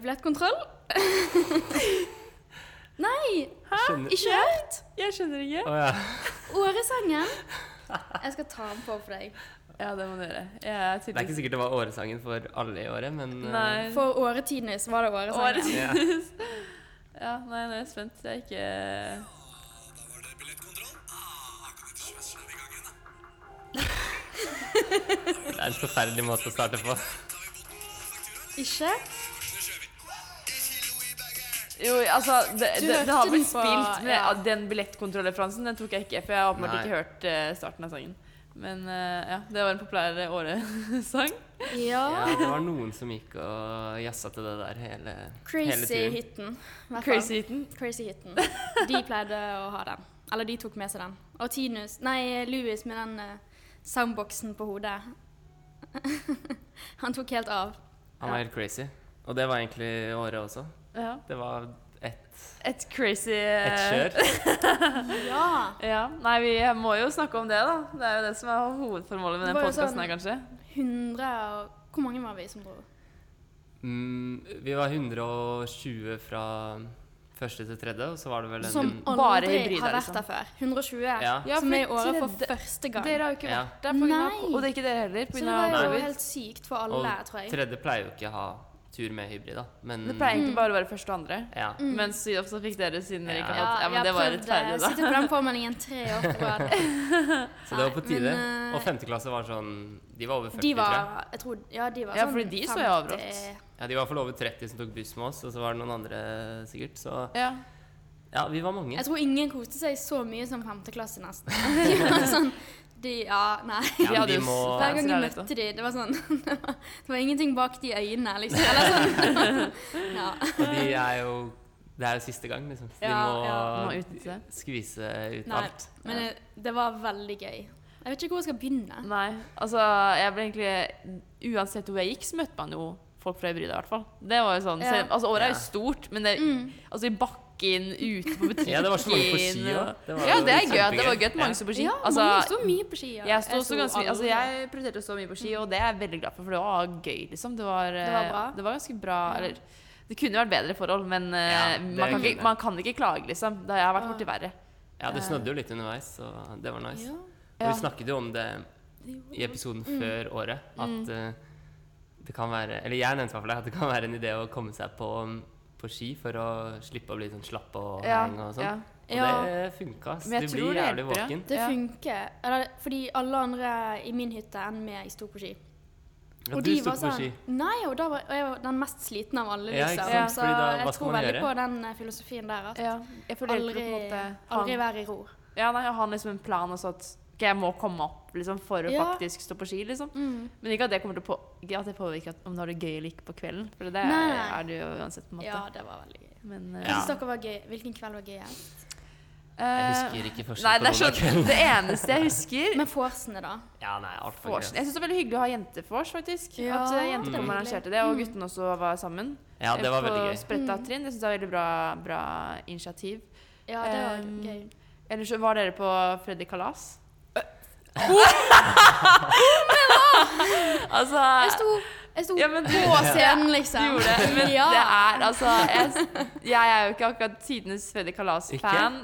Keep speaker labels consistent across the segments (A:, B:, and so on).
A: Billettkontroll? Nei! Hæ?
B: Skjønner-
A: Ikke hørt?
C: Jeg skjønner ikke.
B: Å ja.
A: Åresangen? Jeg skal ta den på for deg.
C: Ja, det må dere. Jeg
B: Det er
C: er
B: ikke
C: tydeligvis
B: sikkert det var åresangen for alle i året, men eh,
C: Nei.
A: For Åretidenes var det Åresangen.
C: Årets-
B: Ja.
C: Ja, nei, nå er jeg spent. Det er ikke
B: det er en forferdelig måte å starte på.
A: Ikke?
C: Jo, altså, det,
A: Du
C: det, det har
A: hørte
C: blitt
A: den på-
C: spilt, men
A: ja.
C: ja, den billettkontrollreferansen den tok jeg ikke, for jeg har åpenbart
B: Nei.
C: ikke hørt eh, starten av sangen. Men eh, ja, det var en populær eh, åresang.
B: Ja,
A: Ja.
B: det var noen som gikk og jazza til det der hele, hele
A: Crazy
B: turen.
A: Hitten. i hvert fall.
C: Crazy Heaton.
A: Crazy Hitten. De pleide å ha den. Eller de tok med seg den. Og Tinus Nei, Louis med den eh, soundboxen på hodet. Han tok helt av.
B: Han var helt crazy. Og det var egentlig året også.
C: Ja.
B: Det var ett
C: Et crazy
B: et
C: eh,
B: kjør.
A: Ja!
C: Ja. Nei, vi må jo snakke om det, da. Det er jo det som er hovedformålet med
A: Det
C: den
A: var jo
C: podkasten
A: sånn-
C: her, kanskje.
A: 100 og Hvor mange var vi som dro?
B: Mm, vi var 120 fra første til tredje, og så var det vel en
A: Som
B: en-
C: Bare
A: aldri
C: hybrider,
A: har vært
C: liksom.
A: der før. 120.
B: Ja.
C: Ja,
A: som er
C: for
A: i året for
C: tredje-
A: første gang.
C: Dere har jo ikke
B: Ja.
C: vært der. på grunn av-
A: Nei.
C: Og det er ikke dere heller. på
A: Så
C: grunn
A: det
C: av
A: var jo
B: Nei.
C: covid.
A: helt sykt for
B: Og
A: alle, tror jeg.
B: tredje pleier jo ikke å ha tur med hybrid, da. Men
C: Det pleier egentlig bare å være første og andre.
B: ja.
C: Mens Sydoff så fikk dere siden dere
B: Ja.
C: ikke hadde Mm. Ja, men
A: jeg
C: det var
A: prøvde å
C: rettferdig, da.
A: sitte på den påmeldingen tre år på rad.
B: Så det var på
A: Nei,
B: tide.
A: men, eh,
B: og femte klasse var sånn De var over 40,
A: De
B: tror jeg.
A: var jeg tror, Ja, de var
C: Ja,
A: sånn
C: fordi de så jo avrått.
A: 50
B: Ja, de var iallfall over 30 som tok buss med oss, og så var det noen andre sikkert. Så
C: Ja.
B: ja, vi var mange.
A: Jeg tror ingen koste seg så mye som femteklasse, nesten. De var sånn de, Ja, nei.
B: Ja, men
C: De hadde
B: de
C: jo
B: må-
A: Hver gang
C: så det
A: jeg
C: er litt, da.
A: møtte de, det var sånn Det var, det var ingenting bak de øynene, liksom. Eller sånn. Ja.
B: Og de er jo Det er jo siste gang, liksom. Så
A: Ja,
B: de må,
A: ja.
C: Må utnytte.
B: skvise ut
A: Nei.
B: alt.
A: Men det, det var veldig gøy. Jeg vet ikke hvor jeg skal begynne.
C: Nei, altså jeg ble egentlig Uansett hvor jeg gikk, så møtte man jo folk fra Hybrida, i hvert fall. Det var jo sånn,
A: Ja. Mm.
C: selv, altså Året
B: Ja.
C: er jo stort, men det, altså i bakken, ute på butikken
B: Ja, det var så mange på ski
C: og-
B: òg. Det var
C: Ja,
B: jo
C: det er gøy. at Det var
B: kjempegøy.
C: gøy at mange sto på ski.
A: Ja,
C: altså,
A: mange sto mye på ski. ja.
C: jeg, sto også
A: sto
C: ganske mye, altså,
A: aldri.
C: jeg prioriterte så mye på ski, og det er jeg veldig glad for, for det var gøy, liksom. Det var,
A: Det var bra.
C: eh, det var ganske bra. Eller det kunne vært bedre forhold, men eh,
B: Ja, det
C: man, kan
B: kunne.
C: ikke, man kan ikke klage, liksom. Da jeg har vært borti verre.
B: Ja, det snødde jo litt underveis, så det var nice.
A: Ja.
B: Og
C: Ja. Mm.
B: vi snakket jo om det i episoden før året, at eh, det kan være Eller jeg nevnte i hvert fall det, at det kan være en idé å komme seg på, på ski for å slippe å bli sånn slapp og
C: Ja,
B: henge og sånn. Og
A: Ja.
B: det funka. ass.
C: Men
B: Du
C: jeg tror
B: blir
C: det
B: jævlig
C: hjelper, ja.
B: våken.
A: Det
C: Ja.
A: funker. Eller, fordi alle andre i min hytte enn meg sto på ski.
B: Og, du sto på ski.
A: sånn- Nei, og da var og jeg var den mest slitne av alle,
B: Ja,
A: liksom.
B: ikke
C: sant?
A: Så
B: Fordi da, hva
A: jeg
B: skal
A: tror
B: man
A: veldig
B: gjøre?
A: på den eh, filosofien der. At
C: Ja. Jeg føler aldri, på
A: aldri,
C: en måte ha
A: aldri
C: en-
A: være i ro.
C: Ja, nei, jeg har liksom en plan også at ok, jeg må komme opp liksom, for å
A: Ja.
C: faktisk stå på ski. liksom.
A: Mm.
C: Men ikke at det kommer til å på, ikke at det påvirker at om du har det gøy eller ikke på kvelden. For det
A: Nei, nei.
C: er det jo uansett. på en måte.
A: Ja, det var veldig gøy.
C: Men, eh,
A: Jeg synes dere var gøy. Hvilken kveld var gøy?
B: Jeg
C: eh,
B: husker ikke
C: Nei,
B: forskjell
C: det
B: på
C: er
B: noen av
C: sånn,
B: kvelden.
C: det eneste jeg husker
A: Med vorsene, da.
B: Ja, nei, alt for
C: Vorsen. Jeg syns det er veldig hyggelig å ha jentefors, faktisk.
A: Ja, Mm.
C: at eh,
A: det er
C: jentekommeren
A: hyggelig.
C: arrangerte det, og guttene også var
B: gøy. Mm.
C: sammen.
B: Ja, det var
C: eh, på
B: veldig gøy.
C: spretta trinn. Det syns jeg var veldig bra, bra initiativ.
A: Ja, det var
C: Um,
A: gøy.
C: Ellers så var dere på Freddy Kalas. altså
A: Jeg sto, jeg sto
C: Ja, men du-
A: på scenen,
C: Du
A: liksom.
C: gjorde det, men
A: ja.
C: det er altså jeg, jeg er jo ikke akkurat tidenes Freddy Kalas-fan.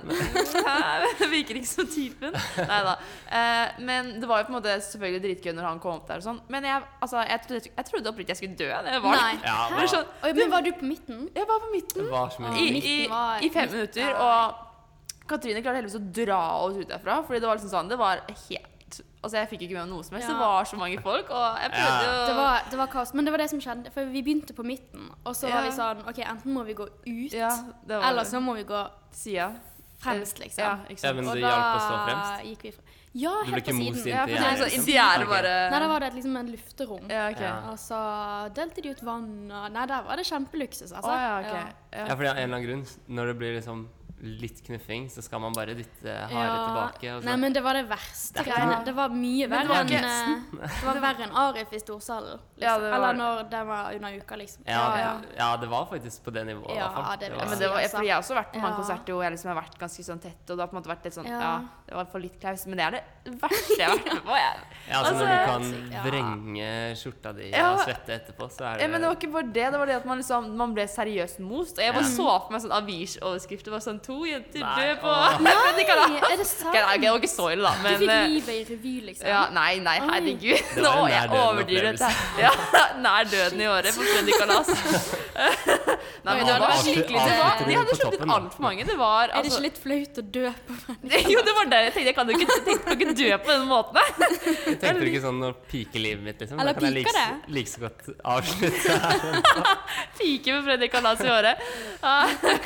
C: Virker ikke som typen. Nei da. Eh, men det var jo på en måte selvfølgelig dritgøy når han kom opp der og sånn. Men jeg, altså, jeg trodde, jeg trodde oppriktig jeg skulle dø. Det var
A: Nei.
B: Ja,
C: det
B: hva-
C: var sånn,
A: Oi, men var du på midten?
C: Jeg var på midten
B: Det var så mye
C: i,
B: dritt.
C: i,
A: Midten var-
C: i fem
A: midten
C: minutter,
A: er-
C: og Katrine klarte heldigvis å dra oss ut derfra. Fordi det var liksom sånn Det var helt Altså, jeg fikk jo ikke med meg noe som helst.
A: Ja.
C: Det var så mange folk, og jeg prøvde jo
B: Ja.
A: Det var, det var kaos, men det var det som skjedde. For vi begynte på midten, og så var
C: Ja.
A: vi sånn OK, enten må vi gå ut,
C: Ja, det var
A: eller så må vi gå
C: Sida.
A: fremst, liksom.
C: Ja,
B: Ja,
C: ikke sant.
B: men
A: Og
B: det
A: da
B: hjalp å stå fremst.
A: Gikk vi fra. Ja,
B: Du ble
A: helt
B: ikke
A: på
B: most
A: siden.
B: inntil
C: Ja, for det er
B: gjerdet,
C: sånn,
B: liksom?
C: de er
B: Ok.
C: bare
A: Nei, da var det liksom en lufterom.
C: Ja, ok.
B: Ja.
A: Og så delte de ut vann og Nei, der var det kjempeluksus, altså.
C: Å, ja, ok.
B: Ja, fordi av en eller annen grunn, når det blir liksom litt knuffing, så skal man bare dytte harde
A: Ja.
B: tilbake. Og så.
A: Nei, men det var det verste
B: Det er ikke
A: greiene.
B: noe-
A: Det var mye
C: Men det
A: verre
C: var
A: enn
C: ikke-
A: eh, Det var verre enn Arif i storsalen. Liksom.
C: Ja, det var
A: Eller
C: det.
A: når den var under uka, liksom.
B: ja, ja.
C: ja.
B: det var faktisk på det nivået. i
A: Ja,
B: hvert fall.
A: det vil
C: Ja,
A: jeg
C: men det var, jeg, for jeg har også vært på
A: Ja.
C: mange konserter hvor jeg liksom har vært ganske sånn tett, og det har på en måte vært litt sånn
A: Ja.
C: Ja, det var for litt klaus, men det er det verste jeg har vært med på. Jeg,
B: Ja, altså, Når
C: Altså-
B: du kan
A: Ja.
B: vrenge skjorta di
C: Ja.
B: og svette etterpå, så er
C: Ja,
B: det
C: men det var ikke bare det, det var det at man, liksom, man ble seriøst most. Og jeg bare
B: Eh. Ja.
C: så for meg sånn avisoverskrifter. Bare sånn To jenter
B: Nei,
C: døde på
B: åh.
C: Nei,
A: Nei, er det sant?
C: Okay, nei, ok, det var ikke så ille, da.
A: Du
C: Men
A: fikk
C: eh,
A: livet i revy, liksom.
C: ja, Nei, nei,
A: Oi.
C: herregud.
B: Det
C: Nå
B: var en nær
C: jeg
B: døden
C: overdriver dette. Ja, nær døden i året på Fredrikalas. nei,
A: Oi,
C: men
A: det
C: det
A: var
C: var
A: avslut-
C: skikkelig det var,
A: avslutter
B: du
C: De
B: på
C: hadde sluttet
B: toppen, da?
C: altfor mange. Det var
A: Er det
C: altså
A: ikke litt flaut å dø på
C: Jo, det var det jeg tenkte. Jeg kan jo ikke tenke, kan ikke dø på den måten her.
B: Jeg tenkte du ikke sånn å pike livet mitt, liksom?
A: Eller
B: da kan jeg
A: piker
B: like, s- like så godt avslutte.
C: Pike med Fredrikalas i året. Ja,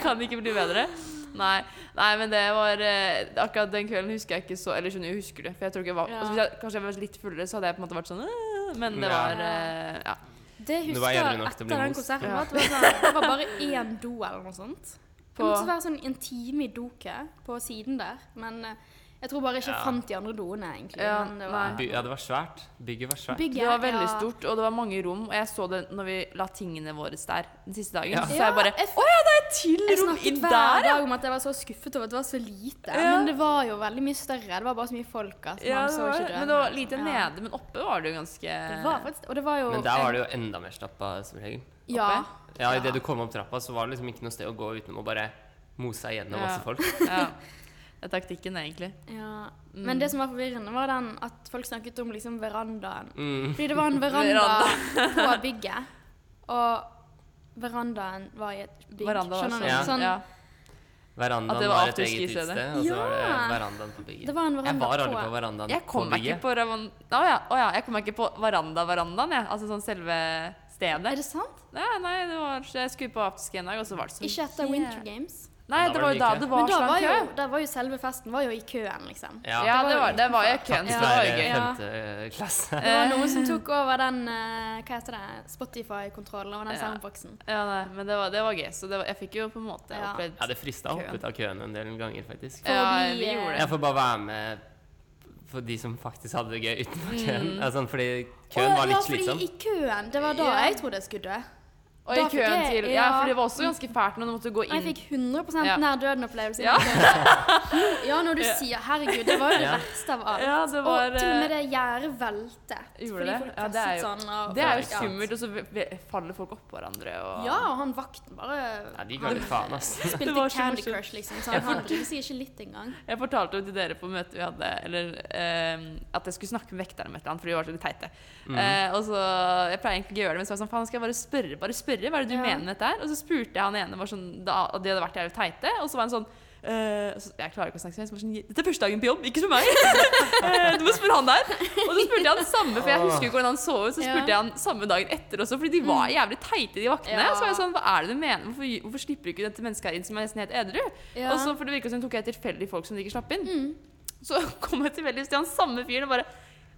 C: kan ikke bli bedre. Nei, nei, men det var eh, Akkurat den kvelden husker jeg ikke så Eller skjønner, jeg husker det. For jeg tror ikke jeg var
A: Ja.
C: altså, Hvis jeg kanskje jeg var litt fullere, så hadde jeg på en måte vært sånn «Åh», Men det
B: Ja.
C: var eh, Ja.
A: Det
B: Du
A: husker
B: var
A: jeg
B: jævlig nok til
A: etter
B: å bli
A: den
B: most.
A: konserten.
C: Ja.
A: var at Det, var sånn, det var bare én do eller noe sånt. Det
C: På-
A: måtte være sånn en time i doket på siden der. Men eh, jeg tror bare ikke jeg
B: Ja.
A: fant de andre doene, egentlig.
C: Ja,
A: men det
C: nei.
A: var
B: By, ja, det var svært. Bygget var svært.
A: bygget.
C: Det var veldig
A: ja.
C: stort, og det var mange rom. Og jeg så det når vi la tingene våre der den siste dagen.
B: Ja.
C: Så sa jeg bare
A: jeg,
C: Å ja, det er et til
A: jeg
C: rom i
A: snakket hver
C: der, ja!
A: dag om at jeg var så skuffet over at det var så lite.
C: Ja.
A: Men det var jo veldig mye større. Det var bare så mye folk at
C: ja
A: man
C: det
A: så ikke
C: var, det.
A: drømmen.
C: men det var lite
A: Ja.
C: nede, men oppe var det jo ganske
A: Det var faktisk, og det var jo
B: Men der var det jo enda mer stappa, som regel.
A: ja,
C: oppe.
B: Ja, Idet du kom opp trappa, så var det liksom ikke noe sted å gå utenom å bare mose seg gjennom masse
C: Ja.
B: folk.
C: ja. Det er taktikken, egentlig.
A: ja. Men det som var forvirrende, var den at folk snakket om liksom verandaen.
B: Mm.
A: Fordi det var en veranda på bygget, og verandaen var i et bygg.
C: Veranda var
A: Skjønner du?
C: sånn. Ja.
A: Sånn,
C: Ja.
B: Verandaen
C: At det
B: var,
C: var
B: et
C: afterski
B: eget
C: i stedet.
B: utested, og så
A: Ja.
B: var det verandaen på bygget.
A: Det var en
B: jeg
A: veranda
B: var aldri
A: på-
B: på verandaen
C: Jeg kom
B: på
C: meg ikke
B: bygget.
C: på Ravan... Å ja, å ja, jeg kom meg ikke på veranda-verandaen, jeg. Altså sånn selve stedet.
A: er det sant?
C: Nei, nei, det var Jeg skulle på afterski en dag, og så var det sånn
A: Ikke etter
C: jæ-
A: Winter Games.
C: Nei,
B: Da var
C: det var
B: det
C: jo da
B: mye kø.
C: det
A: Men
C: var
A: da
C: så
A: var
C: lang
A: jo,
C: kø.
A: der var jo selve festen var jo i køen, liksom.
B: Ja,
C: Ja,
A: Det var
C: det
A: jo
C: var, det var jo køen,
B: Takket
C: så det var jo
B: være
C: gøy.
A: Ja.
B: femte eh, klasse.
A: Det var noen som tok over den eh, hva heter det, Spotify-kontrollen og den
C: Ja.
A: soundboxen.
C: Ja, nei, men det var, det var gøy, så det var, jeg fikk jo på en måte
A: Ja.
C: opplevd
B: Ja, det frista å hoppe
C: Køen.
B: ut av køen en del ganger, faktisk.
A: For
C: Ja,
A: å bli,
C: vi
A: eh,
C: gjorde det.
B: Jeg får bare være med for de som faktisk hadde det gøy utenfor køen.
C: Mm.
B: Altså, fordi køen
A: Å,
B: var litt
A: ja, fordi
B: slitsom.
A: i køen, det var da
C: Ja.
A: jeg trodde jeg skulle dø.
C: Og
A: Da
C: i
A: fikk
C: køen
A: jeg-
C: til Ja,
A: ja.
C: for det var også ganske fælt når du måtte gå
A: Og jeg
C: inn.
A: fikk 100
C: Ja.
A: nær døden-opplevelse.
C: Ja.
A: ja, når du sier 'herregud', det var jo det
B: Ja.
A: verste av alt.
C: Ja, det var eh,
A: og til og med det gjerdet velte.
C: Gjorde det?
A: folk
C: Ja, det er
A: kastet
C: jo-
A: sånn, og,
C: Det er jo
A: folk-
C: skummelt, og så ve- ve- faller folk oppå hverandre og
A: Ja, og han vakten bare
B: Nei, de ga litt faen, ass.
C: Det
A: spilte
C: var så
A: Candy
C: morsomt.
A: Crush, liksom. Så han, han brydde seg ikke litt engang.
C: Jeg fortalte jo til dere på møtet vi hadde Eller ehm, at jeg skulle snakke med vekteren om et eller annet, for de var så litt teite.
B: Mm. Mhm.
C: Eh, og så, Jeg pleier egentlig ikke å gjøre det, men så var jeg sånn Faen, skal jeg bare spørre? Bare spørre, Hva er det du
A: Ja.
C: mener med dette her? Og så spurte jeg han ene var sånn, da, at de hadde vært jævlig teite, og så var han sånn eh, så, jeg klarer ikke å snakke sånn. så var jeg sånn, Dette er første dagen på jobb, ikke spør meg! Eh, du må spørre han der! Og så spurte jeg han samme, for jeg husker jo ikke hvordan han så ut. Så
A: Ja. Mm.
C: spurte jeg han samme dagen etter også, fordi de var jævlig teite, de vaktene.
A: Ja.
C: Så var jeg sånn, hva er det du mener? Hvorfor, hvorfor slipper du ikke dette mennesket her inn som er nesten helt edru?
A: Ja. Mm.
C: Og så, for det virket som de tok jeg tilfeldige folk som de ikke slapp inn. Så kom jeg tilfeldigvis til han samme fyren og bare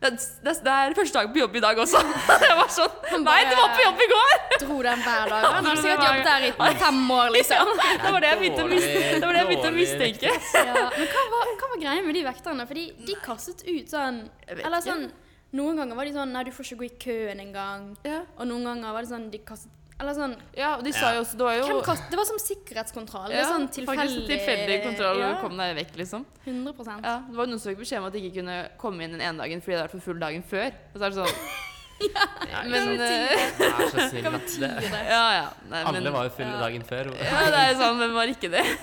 C: det, det, det er første dag på jobb i dag også. Jeg var sånn Nei, du var på jobb i går!
A: Dro den hver dag. Han har
C: det
A: sikkert
C: var-
A: jobbet der i fem år, liksom.
C: Det var det jeg begynte å, mis
B: Dårlig-
C: det var det jeg begynte å
B: dårlig
C: mistenke.
A: Ja. Men hva var, hva var greia med de vekterne? Fordi de kastet ut sånn
C: Jeg vet
A: Eller
C: ikke.
A: sånn Noen ganger var de sånn Nei, du får ikke gå i køen engang.
C: Ja.
A: Og noen ganger var det sånn De kastet Eller sånn
C: ja, og de sa jo også Det var jo
A: Hvem kast, det var som sikkerhetskontroll. Det
C: ja,
A: er sånn
C: faktisk
A: tilfeldig
C: tilfeldig kontroll
A: Ja,
C: kom deg vekk, liksom.
A: 100
C: Ja, det var jo noen som fikk beskjed om at de ikke kunne komme inn den ene dagen fordi de hadde vært for full dagen før. Og så er det sånn
B: Nei,
C: Men
B: liksom,
C: eh,
B: Vær så snill. da. Det,
C: Ja, ja. Nei, men,
B: alle var jo fulle
A: Ja.
B: dagen før.
C: Ja, det er jo sånn, hvem var ikke det?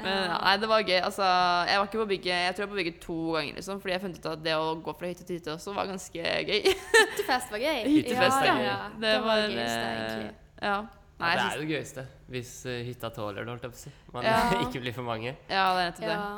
C: Men ja, nei, det var gøy. Altså, jeg var ikke på bygget Jeg tror jeg var på bygget to ganger, liksom, fordi jeg fant ut at det å gå fra hytte til hytte også var ganske gøy.
A: Hyttefest var gøy.
C: Hyttefest
A: ja,
B: er gøy.
A: ja. Det, var det gøyeste,
C: eh,
A: egentlig.
C: Ja. Nei,
B: Ja, det
C: jeg
B: er
C: syns-
B: jo det gøyeste. Hvis eh, hytta tåler det, holdt jeg på å si. Man
C: Ja.
B: ikke blir for mange.
C: ja, det er nettopp det.
A: Ja.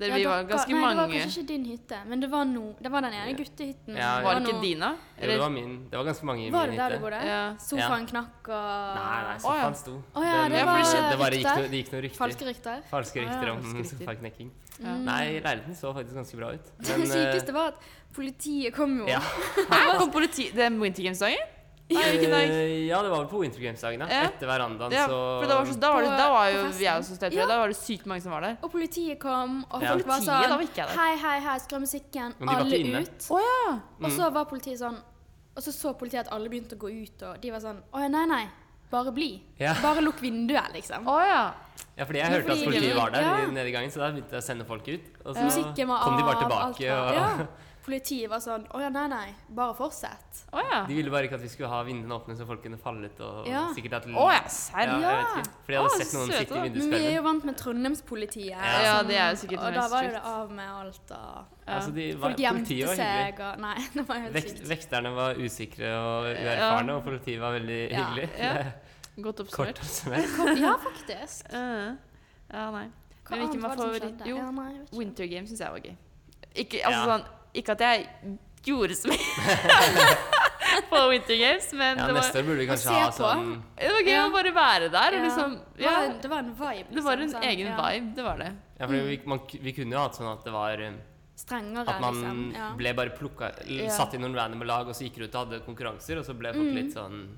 C: det
A: Ja,
C: vi
A: dere-
C: var ganske
A: nei, Det var
C: mange.
A: kanskje ikke din hytte, men det var, no, det var den ene guttehytten.
B: Ja, ja.
C: Var det ikke
A: noe-
C: dina?
B: Jo, det var min. Det var ganske mange i
A: Var
B: min
A: det der du
B: hytte.
A: bodde?
C: Ja.
A: Sofaen knakk og
B: Nei, nei,
C: Å, ja.
B: sofaen sto.
A: Å, ja,
B: Den-
A: det
C: var
B: det, skjedde- det bare gikk
A: rykter.
B: noe, det gikk noe rykter.
A: Falske rykter.
B: Falske
C: Å,
B: rykter
C: ja,
B: om
C: falske rykter.
B: sofaknekking.
C: Ja.
B: Nei, leiligheten så faktisk ganske bra ut.
A: det
B: eh,
A: Mm. sykeste var at politiet kom jo.
B: ja.
C: Hæ?
B: altså.
C: Kom politi Det er Winter Games-dagen? Nei, hvilken dag?
B: Eh, ja, det var vel på Winter Games-dagen, da.
C: Ja.
B: Etter verandaen,
C: Ja,
B: så
C: for da var, så, da var, det, da var jo
A: På- på
C: vi er jo så stedet,
A: festen.
C: Da var det sykt mange som var der.
A: Og politiet kom, og
B: Ja.
A: folk var
C: Politiet, da var ikke jeg
A: sånn
C: der.
A: Hei, hei, hei, skru av musikken.
B: Men de var ikke
A: Alle
B: inne.
A: ut.
C: Å ja!
A: Og
B: Mm.
A: så var politiet sånn Og så så politiet at alle begynte å gå ut, og de var sånn Å ja, nei, nei. Bare bli.
B: Ja.
A: Bare lukk vinduet, liksom.
C: Å ja.
B: Ja, fordi jeg
A: Ja,
B: hørte at
A: fordi-
B: politiet var der
A: Ja.
B: i- nede i gangen, så da begynte jeg å sende folk ut. Og så
A: Musikken var
B: kom de bare
A: av, alt
B: tilbake
A: var-
B: og
A: ja. Politiet var sånn Å ja, nei, nei. Bare fortsett.
C: Å ja.
B: De ville bare ikke at vi skulle ha vinduene åpne, så folk kunne fallet og
A: Ja.
B: sikkert at
C: Å ja,
B: Ja,
C: serr?
B: jeg vet
A: Ja.
B: ikke. For jeg hadde
C: Å,
B: sett noen
C: søte
B: sitte i
C: da.
A: Men vi er
B: vinduskarmen.
A: jo vant med Trøndheimspolitiet.
B: Ja.
C: Ja, det er jo sikkert
A: Og
C: mest
A: da var jo
C: stygt.
A: det av med alt og
C: Ja.
B: Altså, de var,
A: Folk gjemte
B: politiet var hyggelig.
A: seg og Nei, det var helt
B: Vekt,
A: sykt.
B: vekterne var usikre og uerfarne, og politiet var veldig
A: Ja.
B: hyggelig.
C: Ja.
B: Det er
C: Godt oppsummert.
B: Kort oppsummert.
A: Ja, faktisk.
C: Eh, ja, nei.
A: Hva
C: Men hvilken
A: annet
C: var
A: var det som
C: favoritt?
A: skjedde?
C: Jo,
A: ja, nei, jeg vet ikke.
C: Winter Games syns jeg var gøy. Ikke, altså,
B: Ja.
C: sånn, ikke at jeg gjorde så mye på Winter Games, men
B: Ja,
C: det, var,
B: neste år burde vi
A: Å
B: kanskje ha
A: se på.
B: sånn
C: det var gøy
A: Ja.
C: å bare være der. Og
A: Ja.
C: liksom,
A: Det
C: ja,
A: var- Det var en vibe.
C: det var en
A: liksom, sånn,
C: egen
A: ja.
C: vibe. Det var det.
B: Ja, for
A: Mm.
B: vi, man, vi kunne jo hatt sånn at det var um,
A: Strengere,
B: At man
A: liksom. Ja.
B: ble bare plukka l-
C: Ja.
B: Satt i noen random lag, og så gikk rundt og hadde konkurranser, og så ble
A: Mm.
B: folk litt sånn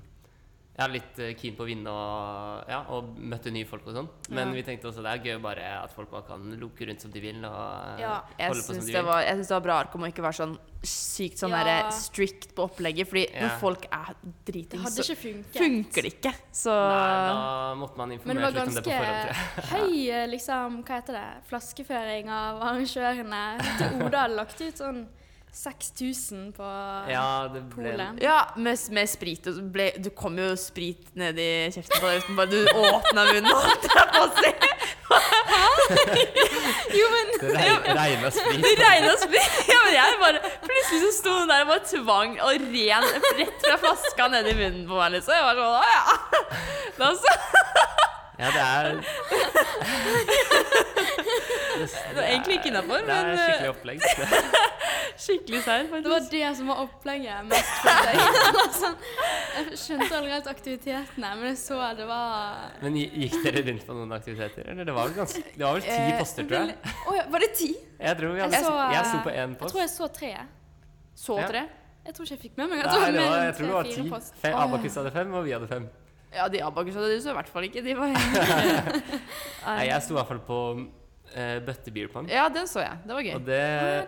B: ja, litt eh, keen på å vinne og, ja, og møtte nye folk og sånn. Men
C: Ja.
B: vi tenkte også det er gøy bare at folk bare kan loke rundt som de vil. Og eh,
A: Ja,
C: Jeg
B: holde på som
C: syns
B: de
C: det,
B: vil.
C: var- jeg synes det var bra Arkom å ikke være sånn sykt sånn
A: Ja.
C: derre strict på opplegget, fordi
B: Ja.
C: når folk er
A: Det
C: dritings,
A: hadde
C: så
A: ikke funket.
C: funker det ikke. Så
B: Nei, da måtte man
A: Men det
B: informert
A: var
B: litt om det på forhånd. tror jeg.
A: ganske høy eh, liksom, hva heter det, flaskeføring av arrangørene. Til Oda hadde lagt ut sånn 6000 på
B: Ja, det ble
A: polet.
C: Ja, med, med sprit. Og så ble, du kom jo sprit ned i kjeften på deg uten bare du åpna munnen og holdt deg på å se. jo, men
B: Det regn- regna sprit.
C: det regna sprit. Ja, men jeg bare Plutselig så sto hun der og bare tvang og ren rett fra flaska ned i munnen på meg, liksom. Jeg var sånn, å ja. Da så,
B: Ja, det er
C: det var egentlig ikke innafor,
B: Det er
C: men eh,
B: skikkelig opplegg. Det-
C: skikkelig seigt,
A: Det var
C: faktisk.
A: det som var opplegget mest for deg. Eller sånn, Jeg skjønte aldri helt aktivitetene, men jeg så det var
B: Men gi- gikk dere rundt på noen aktiviteter? Eller det var vel ganske Det var vel ti
A: Eh,
B: poster, tror jeg.
A: veldig- Å ja, var det ti?
B: Jeg tror vi
A: Jeg
B: hadde
A: så,
B: Jeg sto
A: eh,
B: på én
A: Jeg
B: post.
A: tror jeg så tre.
C: Så
B: Ja.
C: tre?
A: Jeg tror ikke jeg fikk med meg at det var
B: Nei, det
A: mer
B: var, jeg
A: enn
B: tror det var
A: tre-fire
B: ti.
A: post.
B: Fe-
A: Å, ja.
B: Abakus hadde fem, og vi hadde fem.
C: Ja, de abakus hadde du så i hvert fall ikke. De var
B: Nei, jeg sto i hvert fall på uh, Bøtte beer pong.
C: Ja, den så jeg. Det var gøy.
B: Og
A: Ja,
B: det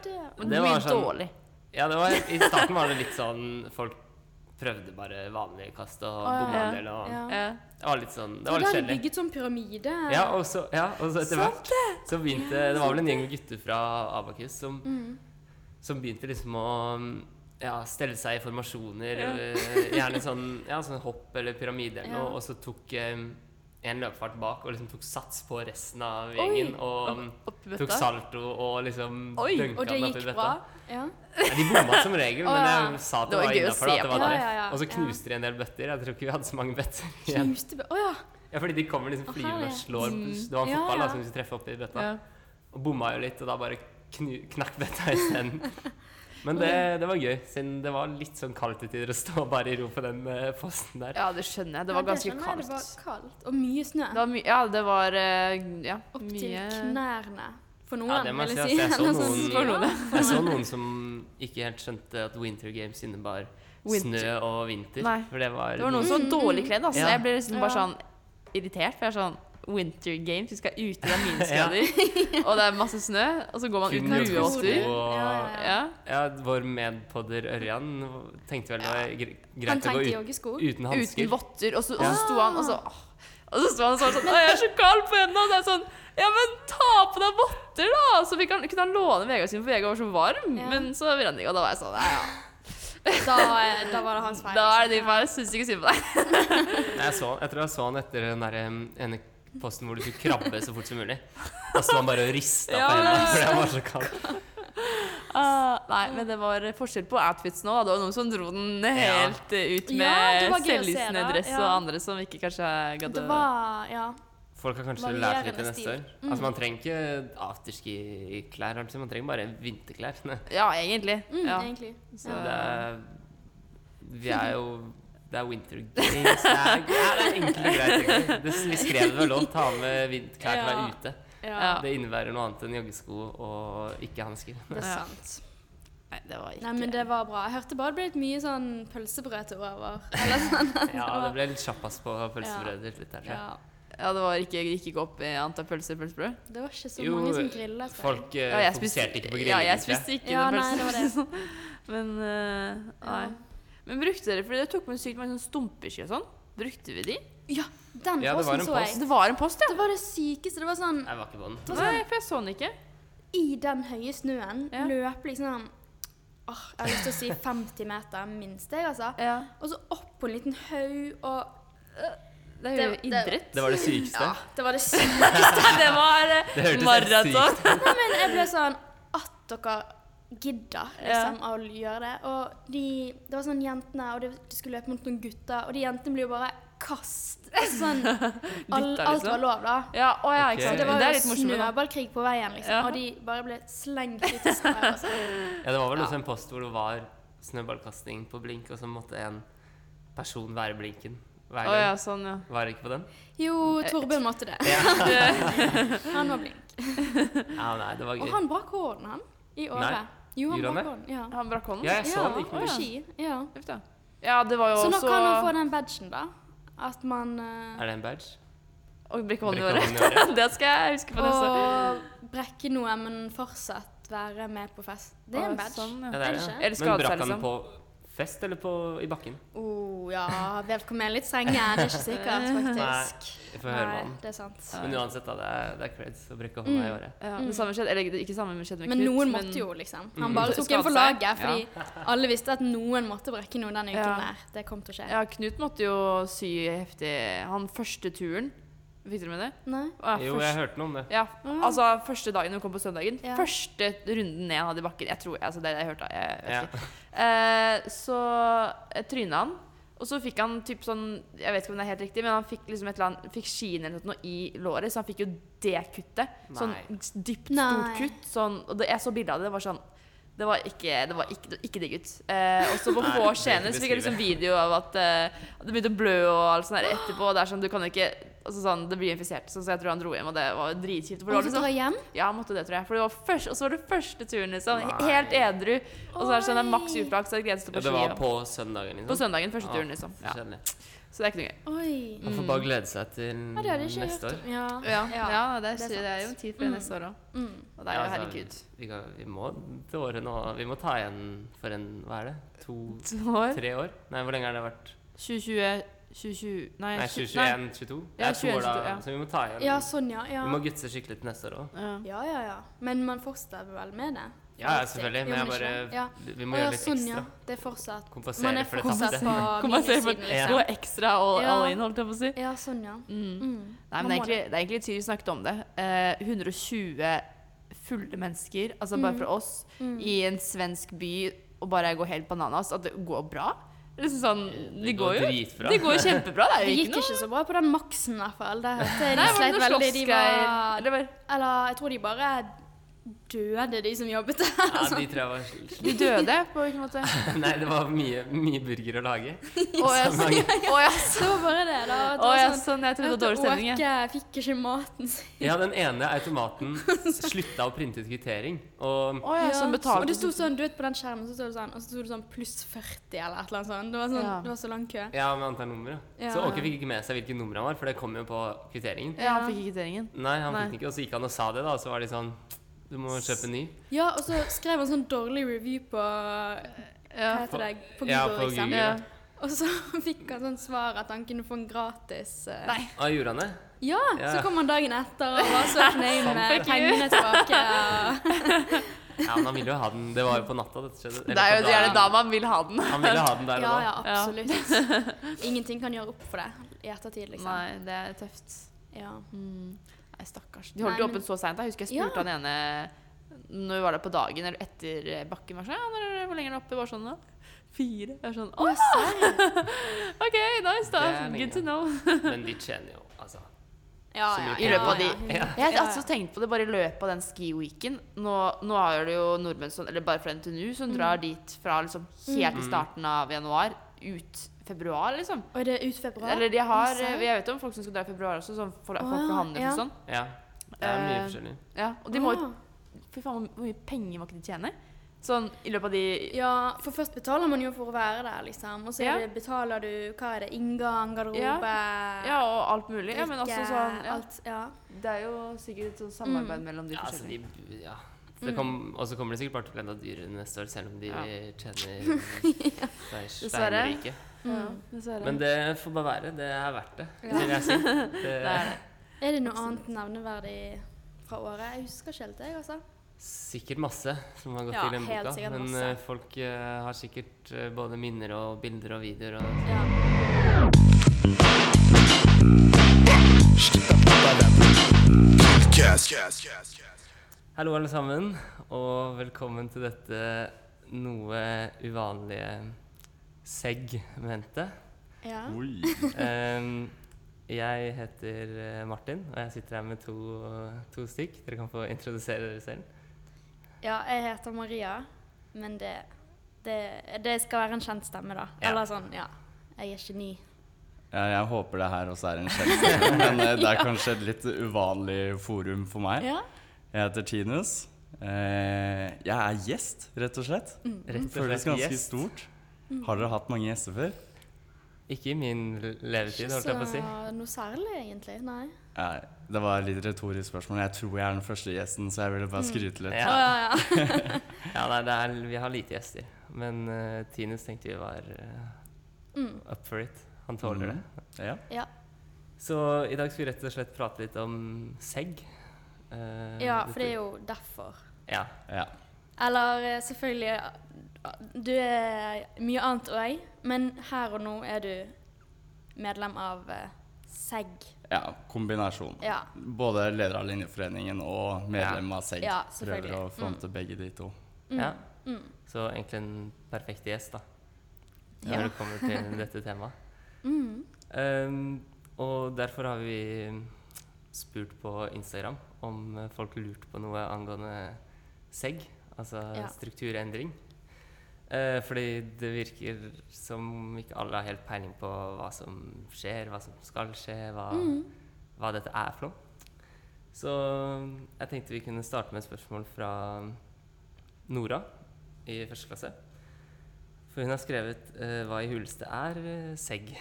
A: det-
C: Men
B: det
C: mye
B: var sånn-
C: dårlig.
B: Ja, det var, i starten var det litt sånn Folk prøvde bare vanlige kast og
A: Å, ja.
B: bomma en del. Og
A: Ja.
C: Ja.
B: det var litt sånn Det
A: Så da
B: var litt
A: har de
B: kjedelig.
A: bygget sånn pyramide.
B: Ja, og så, ja, og så etter
A: Sant
B: hvert så begynte Det var vel en gjeng med gutter fra Abakus som, som begynte liksom å ja, stelle seg i formasjoner,
C: Ja.
B: eller gjerne sånn, ja, sånn hopp eller pyramide eller
A: Ja.
B: noe, og så tok eh, en løpefart bak og liksom tok sats på resten av gjengen. Og mm,
C: Oppi bøtta?
B: tok salto og liksom
C: Oi,
B: dunka
A: og det
B: den oppi
A: gikk
B: bøtta.
A: bra. Ja.
B: Ja, de bomma som regel,
A: Å,
B: men
A: ja.
B: jeg sa at det,
C: Det var
B: var
C: gøy å
B: innafor.
C: se på.
A: Ja, ja, ja.
B: Og så
A: Ja.
B: knuste de en del bøtter. Jeg tror ikke vi hadde så mange bøtter igjen.
A: Knuste Å ja.
B: Ja, fordi de kommer liksom flyvende og
A: herlighet.
B: slår Det var en
A: Ja,
B: fotball
A: ja.
B: da, som vi skulle treffe oppi bøtta.
C: Mm. Ja.
B: Og bomma jo litt, og da bare knu, knakk bøtta isteden. Men det, det var gøy, siden det var litt sånn kaldt til tider å stå bare i ro på den eh, posten der.
C: ja, det skjønner jeg. Det var
A: Ja,
C: ganske
A: skjønner jeg,
C: kaldt.
A: Det var kaldt og mye snø.
C: Det var mye Ja, det var eh, ja,
A: Opp til
C: mye
A: knærne. For noen,
B: Ja, det må
A: vil
B: jeg
A: jeg
B: si,
A: si.
B: altså, jeg så
A: Eller
B: noen-
A: sånn-
B: For
C: noen.
A: Ja.
B: Jeg så noen som ikke helt skjønte at Winter Games innebar
C: Winter.
B: snø og vinter.
C: Nei.
B: For det var,
C: Det var noen som var dårlig kledd, altså.
B: Ja.
C: Jeg ble liksom bare
A: Mm. Ja.
C: sånn irritert, for jeg er sånn Winter Games, vi skal ute, det er minusgrader, og det er masse snø, og så går man
B: Kun
C: uten
B: joggesko
C: lue og
A: tur.
C: styr.
A: Ja,
B: og
A: ja,
C: Ja.
B: ja, Vår medpodder Ørjan tenkte vel det var gre-
A: Han
B: greit å
A: tenkte
B: gå ut,
A: joggesko.
B: uten
C: Uten
B: hansker.
C: votter, og så, og
B: Ja.
C: så sto han og så åh. Og så sto han og sa sånn Å, jeg er så kald på hendene! Og så er jeg sånn Ja, men ta på deg votter, da! Så vi kan, kunne han låne Vegard sin, for Vegard var så varm.
A: Ja.
C: Men så ville han ikke, og da var jeg sånn Nei, ja.
A: Da, eh, da var det hans feil.
C: Da er det din feil. Syns ikke synd på deg.
B: Nei, Jeg, så, jeg tror jeg så han etter den der, um, ene posten hvor du skulle krabbe så fort som mulig. Da sto han bare og rista
C: Ja,
B: på hendene
C: men-
B: fordi han var så kald.
A: Ah,
C: nei, men det var forskjell på outfits nå. Da. Det var noen som dro den helt eh, ut
A: Ja,
C: med
A: det var gøy å se,
C: selvlysende
A: da.
C: dress, og
A: Ja.
C: andre som ikke kanskje gadd
A: Det var Ja.
B: Folk har kanskje
A: Varierende
B: lært litt til neste
A: stil.
B: år. Altså Man trenger ikke afterski-klær, altså, man trenger bare vinterklær.
C: Ja, egentlig.
A: Mm,
C: Ja.
A: Egentlig.
C: Så,
B: Så det er, vi er jo det er winter games. Det er, ja, det er enkelt og greit. egentlig. Det, vi skrev det vel òg. Ta med vinterklær til
A: Ja.
B: å være ute.
A: Ja,
C: Ja.
B: Det innebærer noe annet enn joggesko og ikke hansker.
A: det er
C: Ja.
A: sant.
C: Nei, det var ikke
A: Nei, men det var bra. Jeg hørte bare det ble litt mye sånn pølsebrød til over. Eller sånn. at
B: Ja, det
A: var-
B: ble litt sjappas på pølsebrødet til slutt. her, tror jeg.
A: ja.
C: Ja, det var ikke, gikk ikke opp i antall pølser og pølsebrød.
A: Det var ikke så
B: Jo,
A: mange som grillet. tror jeg.
B: Folk eh,
C: Altså. Ja, jeg spiste-
B: fokuserte ikke på grillingen.
C: Ja, jeg
B: tror jeg.
C: spiste ikke
A: Ja,
C: noen
A: nei,
C: pølser. sånn. Men eh, nei.
A: Ja.
C: Men brukte dere Fordi det tok med sykt mange sånne stumpeski og sånn. Brukte vi de?
A: Ja, den
B: Ja, det var
A: posten
B: en
A: så
B: post.
A: jeg.
C: Det var en post, ja.
A: Det var det sykeste. Det var sånn
B: Jeg var ikke på den.
A: var sånn-
C: Nei, for jeg så den ikke.
A: i den høye snøen
C: Ja.
A: løp liksom åh, Jeg har lyst til å si 50 meter, minst jeg, altså.
C: Ja.
A: Og så opp på en liten haug, og
C: Det er jo
A: Det- det-
C: idrett.
B: Det var det sykeste.
A: det var det sykt.
C: det var eh,
B: Det hørtes helt
C: maraton.
B: sykt ut.
A: Nei, men jeg ble sånn At dere gidder liksom, å gjøre det. Og de, det var sånn jentene, og de, de skulle løpe mot noen gutter, og de jentene blir jo bare kast. Altså, Sånn, all,
C: Dytta,
A: alt
C: liksom.
A: var lov, da.
C: Ja, å, ja,
B: Ok.
C: ikke sant.
A: Det var
C: det er
A: jo
C: litt morsomt. da.
A: snøballkrig på veien, liksom.
C: Ja.
A: Og de bare ble slengt ut i snø. og sånn.
B: Ja, det var vel også en post hvor det var snøballkasting på blink, og så måtte en person være blinken hver
C: Å
B: gang.
C: ja, sånn, ja.
B: Var det ikke på den?
A: Jo,
C: Eh,
A: Torbjørn måtte det. Han var blink.
B: Ja, nei, det var
A: Og
B: gøy.
A: han brakk hånden, han. I
B: Nei.
A: året. Jo, han
B: Gjorde han
A: brakk
B: det?
A: hånden. Ja.
C: Han brakk hånden.
B: Ja, jeg så
A: ja,
B: han gikk
A: på
B: med
A: ski. Ja.
C: Uff da. Ja, det var jo
A: Så nå
C: også
A: kan han få den badgen, da. At man eh,
B: Er det en badge?
C: Å brekke hånden i
B: Brekke hånden i
C: året. det skal jeg huske på neste år.
A: Og brekke noe, men fortsatt være med på fest. Det er
C: Å,
A: en badge.
C: Sånn,
B: Ja,
C: ja.
B: det
A: Er
B: er
A: det
B: det.
A: ikke?
B: ja.
C: Eller skade
B: Men
C: seg,
B: brakk
C: liksom.
B: han på fest eller på, i bakken?
A: oh, ja, velkommen litt strenge. Det er ikke sikkert, faktisk.
B: Jeg får høre med han.
A: det er sant.
B: Men uansett, da. Det er, det er creds å brekke hånda
C: Mm.
B: i året.
C: Ja, det samme skjedde, eller ikke samme skjedde med
A: Mm. Men
C: Knut.
A: noen måtte jo, liksom. Han bare
C: Mm.
A: tok en for
C: Skade seg.
A: laget, fordi alle visste at noen måtte brekke noe den uken
C: Ja.
A: der. Det kom til å skje.
C: Ja, Knut måtte jo sy heftig Han første turen. Fikk dere med det?
A: Nei?
C: Å,
B: Jo, jeg hørte noe om det.
C: Ja, altså første dagen hun kom på søndagen.
A: Ja.
C: Første runden ned han hadde i bakken. Jeg tror, altså det er det jeg hørte. Jeg vet
B: Ja.
C: ikke. Eh, så eh, tryna han. Og så fikk han typ sånn Jeg vet ikke om det er helt riktig, men han fikk liksom et eller annet Fikk skien eller noe i låret, så han fikk jo det kuttet. Sånn
B: Nei.
C: dypt,
A: Nei.
C: stort kutt. Sånn, og det, jeg så bilde av det. Det var sånn det var ikke, det var ikke, ikke digg ut. Eh, og så på
B: Nei,
C: få
B: det er ikke
C: scener så fikk jeg liksom
B: beskrivet.
C: video av at eh, at det begynte å blø og alt sånt der etterpå. Og det er sånn, du kan ikke altså sånn, Det blir infisert. Så, så jeg tror han dro hjem, og det var dritkjipt. for det var
A: Han
C: liksom-
A: får dra hjem?
C: ja, han måtte det, tror jeg. For det var først, og så var det første turen, liksom.
B: Nei.
C: Helt edru. Og så er det sånn det er maks
A: Oi.
C: utflaks, så det er greit å stå
B: Ja,
C: på
B: det
C: ski.
B: var
C: og-
B: på søndagen, liksom.
C: På søndagen, første
B: Ah,
C: turen, liksom.
B: så
C: Ja.
B: Kjedelig.
C: Så det er ikke noe gøy.
A: Oi.
B: Man får bare glede seg til
A: Mm. Ja, det hadde jeg ikke
B: neste
A: hørt
B: år.
A: om. Ja.
C: Ja, ja, det, er, Mm.
A: det er
C: det er jo en tid før neste år òg. Og det er jo
B: Ja, altså,
C: herregud.
B: Vi, kan, vi må til året nå. Vi må ta igjen for en Hva er det? To-tre
C: År?
B: år? Nei, hvor lenge har det vært?
C: 2020 2020 Nei,
B: Nei, 2021-22?
C: Ja, 21, ja.
B: Så vi må ta igjen.
A: ja, sånn, ja.
B: Vi må
A: Ja.
B: gutse skikkelig til neste år òg.
C: Ja.
A: ja, ja, ja. Men man fortsetter vel med det?
B: Ja, ja, selvfølgelig. Men
A: Jo,
B: jeg
A: ikke
B: bare
A: sant? ja.
B: Vi
A: Å,
B: må
A: ja,
B: gjøre litt
A: sånn, ja.
B: ekstra.
A: Det er fortsatt Man
B: Kompensere
A: er
B: for det
A: fortsatt
B: tapte.
A: på
C: Kompensere for
A: minussiden,
C: det.
A: liksom.
C: Gå ekstra all,
A: Ja.
C: all in, holdt jeg på å si.
A: Ja, sånn, ja. Mm.
C: Nei, men
A: Man
C: det er
A: må
C: egentlig, det er egentlig litt sykt vi snakket om det. Eh, 120 fulle mennesker, altså bare fra oss, i en svensk by og bare gå helt bananas. At det går bra. Det er liksom sånn, det,
B: Det
C: går
B: går
C: jo
B: dritbra.
C: Det går jo kjempebra. Det er
A: Det
C: jo
A: gikk
C: ikke noe
A: ikke så bra på den maksen, i hvert fall. Det hørte jeg
C: Nei,
A: de
C: var det
A: sleit
C: noe
A: veldig. De
C: slåssgreier?
A: var
C: Eller bare-
A: Eller jeg tror de bare døde, de som jobbet der.
B: Ja, de tror jeg var sl-
C: De døde på hvilken måte?
B: Nei, det var mye, mye burger å lage.
C: Å ja, så- å, Sånn, ja, så-
A: Så bare det, da. Det
C: å,
A: var
C: ja,
A: sånn,
C: sånn. Jeg trodde det var dårlig stemning. jeg.
A: Åke fikk ikke maten sin.
B: Ja, den ene automaten slutta å printe ut kvittering. Og
C: Å ja, sånn
A: Og det sto
C: betalte
A: sånn, du vet på den skjermen, så sto det sånn, og så sto det sånn pluss 40 eller et eller annet sånt. Det var, sånn,
C: Ja.
A: det var så lang kø.
B: ja, med antall nummer. Ja. Så
A: Ja.
B: Åke fikk ikke med seg hvilket nummer han var, for det kom jo på kvitteringen.
C: Ja, han fikk ikke kvitteringen.
B: Nei, han
C: Nei.
B: fikk den ikke, og så gikk han og sa det, da, og så var de sånn Du må kjøpe en ny.
A: Ja, og så skrev han sånn dårlig review på eh, Hva
C: Ja.
A: heter det? På Google,
B: Ja, på
A: liksom.
B: Google.
C: Ja.
A: Og så fikk han sånn svar at han kunne få en gratis eh,
C: Nei.
B: Ah, gjorde han det?
A: Ja,
B: Ja.
A: så kom han dagen etter og var så fornøyd med
C: Fuck you.
A: pengene tilbake. og-
B: Ja, men han ville jo ha den. Det var jo på natta dette skjedde.
C: Det
B: Eller på
C: er jo gjerne
B: dagen.
C: da man vil ha den.
B: Han ville ha den der og
A: Ja,
B: da.
A: ja, absolutt. Ingenting kan gjøre opp for det i ettertid, liksom.
C: Nei, det er tøft.
A: Ja.
C: Mm. Nei, stakkars. De holdt
A: Nei,
C: jo
A: men-
C: åpent så seint. Jeg husker jeg spurte han ene når vi var der på dagen eller etter eh, bakken. Var sånn, ja, når, er- hvor lenge er det oppe? Var sånn da? Fire. Jeg var sånn Å, OK, nice, da.
B: Det er lenge.
C: Good to know.
B: Men de tjener jo, altså.
A: Ja,
B: Så
A: ja,
B: mye
A: ja,
C: I løpet av de-
A: ja.
C: Jeg har
A: Ja,
C: altså tenkt på det bare i løpet av den ski-weeken. Nå, nå har det jo nordmenn som Eller bare fra NTNU som drar dit fra liksom helt i starten av januar ut februar, liksom.
A: Og det er ut februar?
C: Eller de har
A: Nice.
C: eh, Jeg vet om folk som skal dra i februar også, sånn for, folk
A: ja,
C: fra Handels
A: ja.
C: og sånn.
B: Ja. Det er mye
C: Eh,
B: forskjellig.
C: Ja, og de må jo
A: Ah.
C: Fy faen, hvor mye penger må ikke de tjene? Sånn i løpet av de
A: Ja, for først betaler man jo for å være der, liksom. Og så er
C: Ja.
A: det, betaler du Hva er det? Inngang, garderobe
C: Ja. Ja, og alt mulig. Ja, men også
A: drikke,
C: sånn ja. Mm.
A: Alt. Ja.
C: Det er jo sikkert et sånt samarbeid mellom de
B: Ja, altså,
C: forskjellige.
B: de Ja. Så det kom, og så kommer det sikkert bare til å bli enda dyrere neste år, selv om de
C: Mm. Ja.
B: tjener seg
C: Dessverre.
B: steinrike.
C: Ja, dessverre.
B: Men det får bare være. Det er verdt det,
A: Ja.
B: vil jeg si. Det,
C: det er det.
A: Er det noe annet nevneverdig fra året? Jeg husker ikke helt, jeg, altså.
B: Sikkert masse som har gått
C: Ja,
B: i den
A: helt
B: boka.
A: sikkert
B: Men
A: masse.
B: eh, folk eh, har sikkert eh, både minner og bilder og videoer og
A: Ja.
D: Cast, cast, cast, cast.
B: Hallo, alle sammen, og velkommen til dette noe uvanlige segmentet.
A: ja.
E: Oi.
B: Ehm, jeg heter eh, Martin, og jeg sitter her med to, to stykk. Dere kan få introdusere dere selv.
A: ja, jeg heter Maria, men det, det, det skal være en kjent stemme, da.
B: Ja.
A: Eller sånn, ja. Jeg er ikke ny.
E: Ja, jeg håper det her også er en kjennelse, men eh, det er kanskje et litt uvanlig forum for meg.
A: Ja.
E: Jeg heter Tinus. Eh, Jeg er gjest, rett og slett.
A: Mm.
B: Rett og
E: Føles
B: slett
E: ganske
B: gjest.
E: stort. Har dere hatt mange gjester før?
B: Ikke i min l- levetid, holdt jeg på å si.
A: noe særlig, egentlig. Nei.
E: Nei, det var et litt retorisk spørsmål. Jeg tror jeg er den første gjesten, så jeg ville
A: Mm.
E: bare skryte litt.
A: Å,
B: Ja,
A: ja, ja.
B: ja nei, det er, vi har lite gjester. Men eh, Tinus tenkte vi var eh,
A: Mm.
B: up for it. Han tåler det.
E: Ja.
A: Ja.
B: Så i dag skal vi rett og slett prate litt om segg. Eh,
A: ja,
B: dette-
A: for det er jo derfor.
B: Ja.
E: ja.
A: Eller eh, selvfølgelig eh, Du er mye annet òg, men her og nå er du medlem av eh, SEG.
E: ja kombinasjon.
A: Ja.
E: Både leder av Linjeforeningen og medlem av SEG.
A: Ja, selvfølgelig. Mm.
E: Prøver å fronte begge de to.
B: ja. Så egentlig en perfekt gjest, da. Når det kommer til dette temaet. Eh, og derfor har vi spurt på Instagram om eh, folk lurte på noe angående segg, altså
A: Ja.
B: strukturendring. Eh, fordi det virker som ikke alle har helt peiling på hva som skjer, hva som skal skje, hva, hva dette er for noe. Så jeg tenkte vi kunne starte med et spørsmål fra Nora i første klasse. For hun har skrevet eh, 'Hva i huleste er eh, segg'?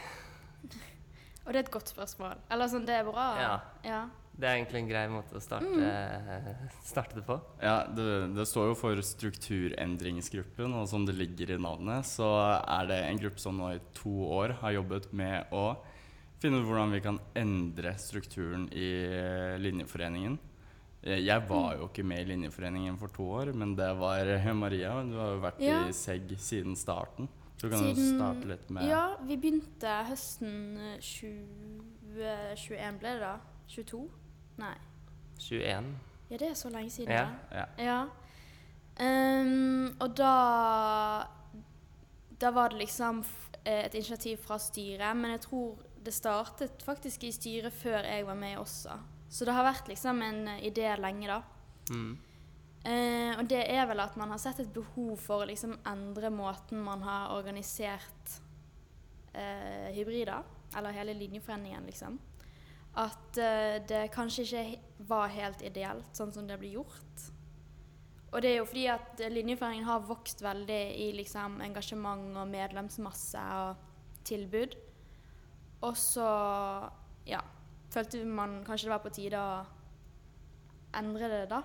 A: Og det er et godt spørsmål. Eller sånn, det er bra.
B: Ja.
A: ja.
B: Det er egentlig en grei måte å starte,
A: Mm.
B: eh, starte det på.
E: Ja, det, det står jo for strukturendringsgruppen, og som det ligger i navnet, så er det en gruppe som nå i to år har jobbet med å finne ut hvordan vi kan endre strukturen i eh, linjeforeningen. Eh, Jeg var jo ikke med i linjeforeningen for to år, men det var eh, Maria. Du har jo vært
A: Ja.
E: i SEG siden starten. Så du kan jo
A: Siden-
E: starte litt med
A: ja, vi begynte høsten eh, 2021, ble det da? 22? Nei.
B: 21.
A: Ja, det er så lenge siden.
B: Ja.
A: da.
E: Ja.
A: Ja. Ehm, og da Da var det liksom f- eh, et initiativ fra styret, men jeg tror det startet faktisk i styret før jeg var med også. Så det har vært liksom en eh, idé lenge, da.
B: Mm.
A: Eh, og det er vel at man har sett et behov for å liksom endre måten man har organisert eh, hybrider, eller hele linjeforeningen, liksom. At eh, det kanskje ikke he- var helt ideelt, sånn som det blir gjort. Og det er jo fordi at eh, linjeforeningen har vokst veldig i liksom engasjement og medlemsmasse og tilbud. Og så, ja, følte man kanskje det var på tide å endre det, da.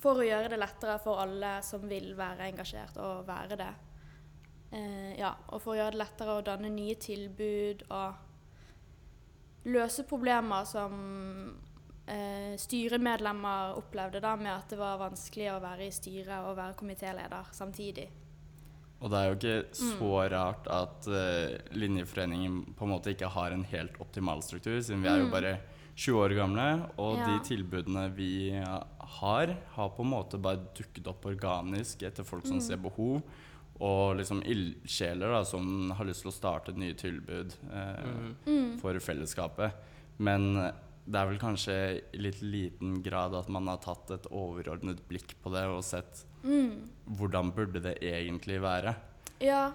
A: For å gjøre det lettere for alle som vil være engasjert, å være det. Eh, ja, og for å gjøre det lettere å danne nye tilbud og løse problemer som eh, styremedlemmer opplevde da, med at det var vanskelig å være i styret og være komitéleder samtidig.
E: Og det er jo ikke så rart at eh, linjeforeningen på en måte ikke har en helt optimal struktur, siden vi er jo bare 20 år gamle, og
A: Ja.
E: de tilbudene vi har, har på en måte bare dukket opp organisk etter folk som ser behov, og liksom ildsjeler da, som har lyst til å starte nye tilbud eh, for fellesskapet. Men eh, det er vel kanskje i litt liten grad at man har tatt et overordnet blikk på det og sett hvordan burde det egentlig være.
A: Ja,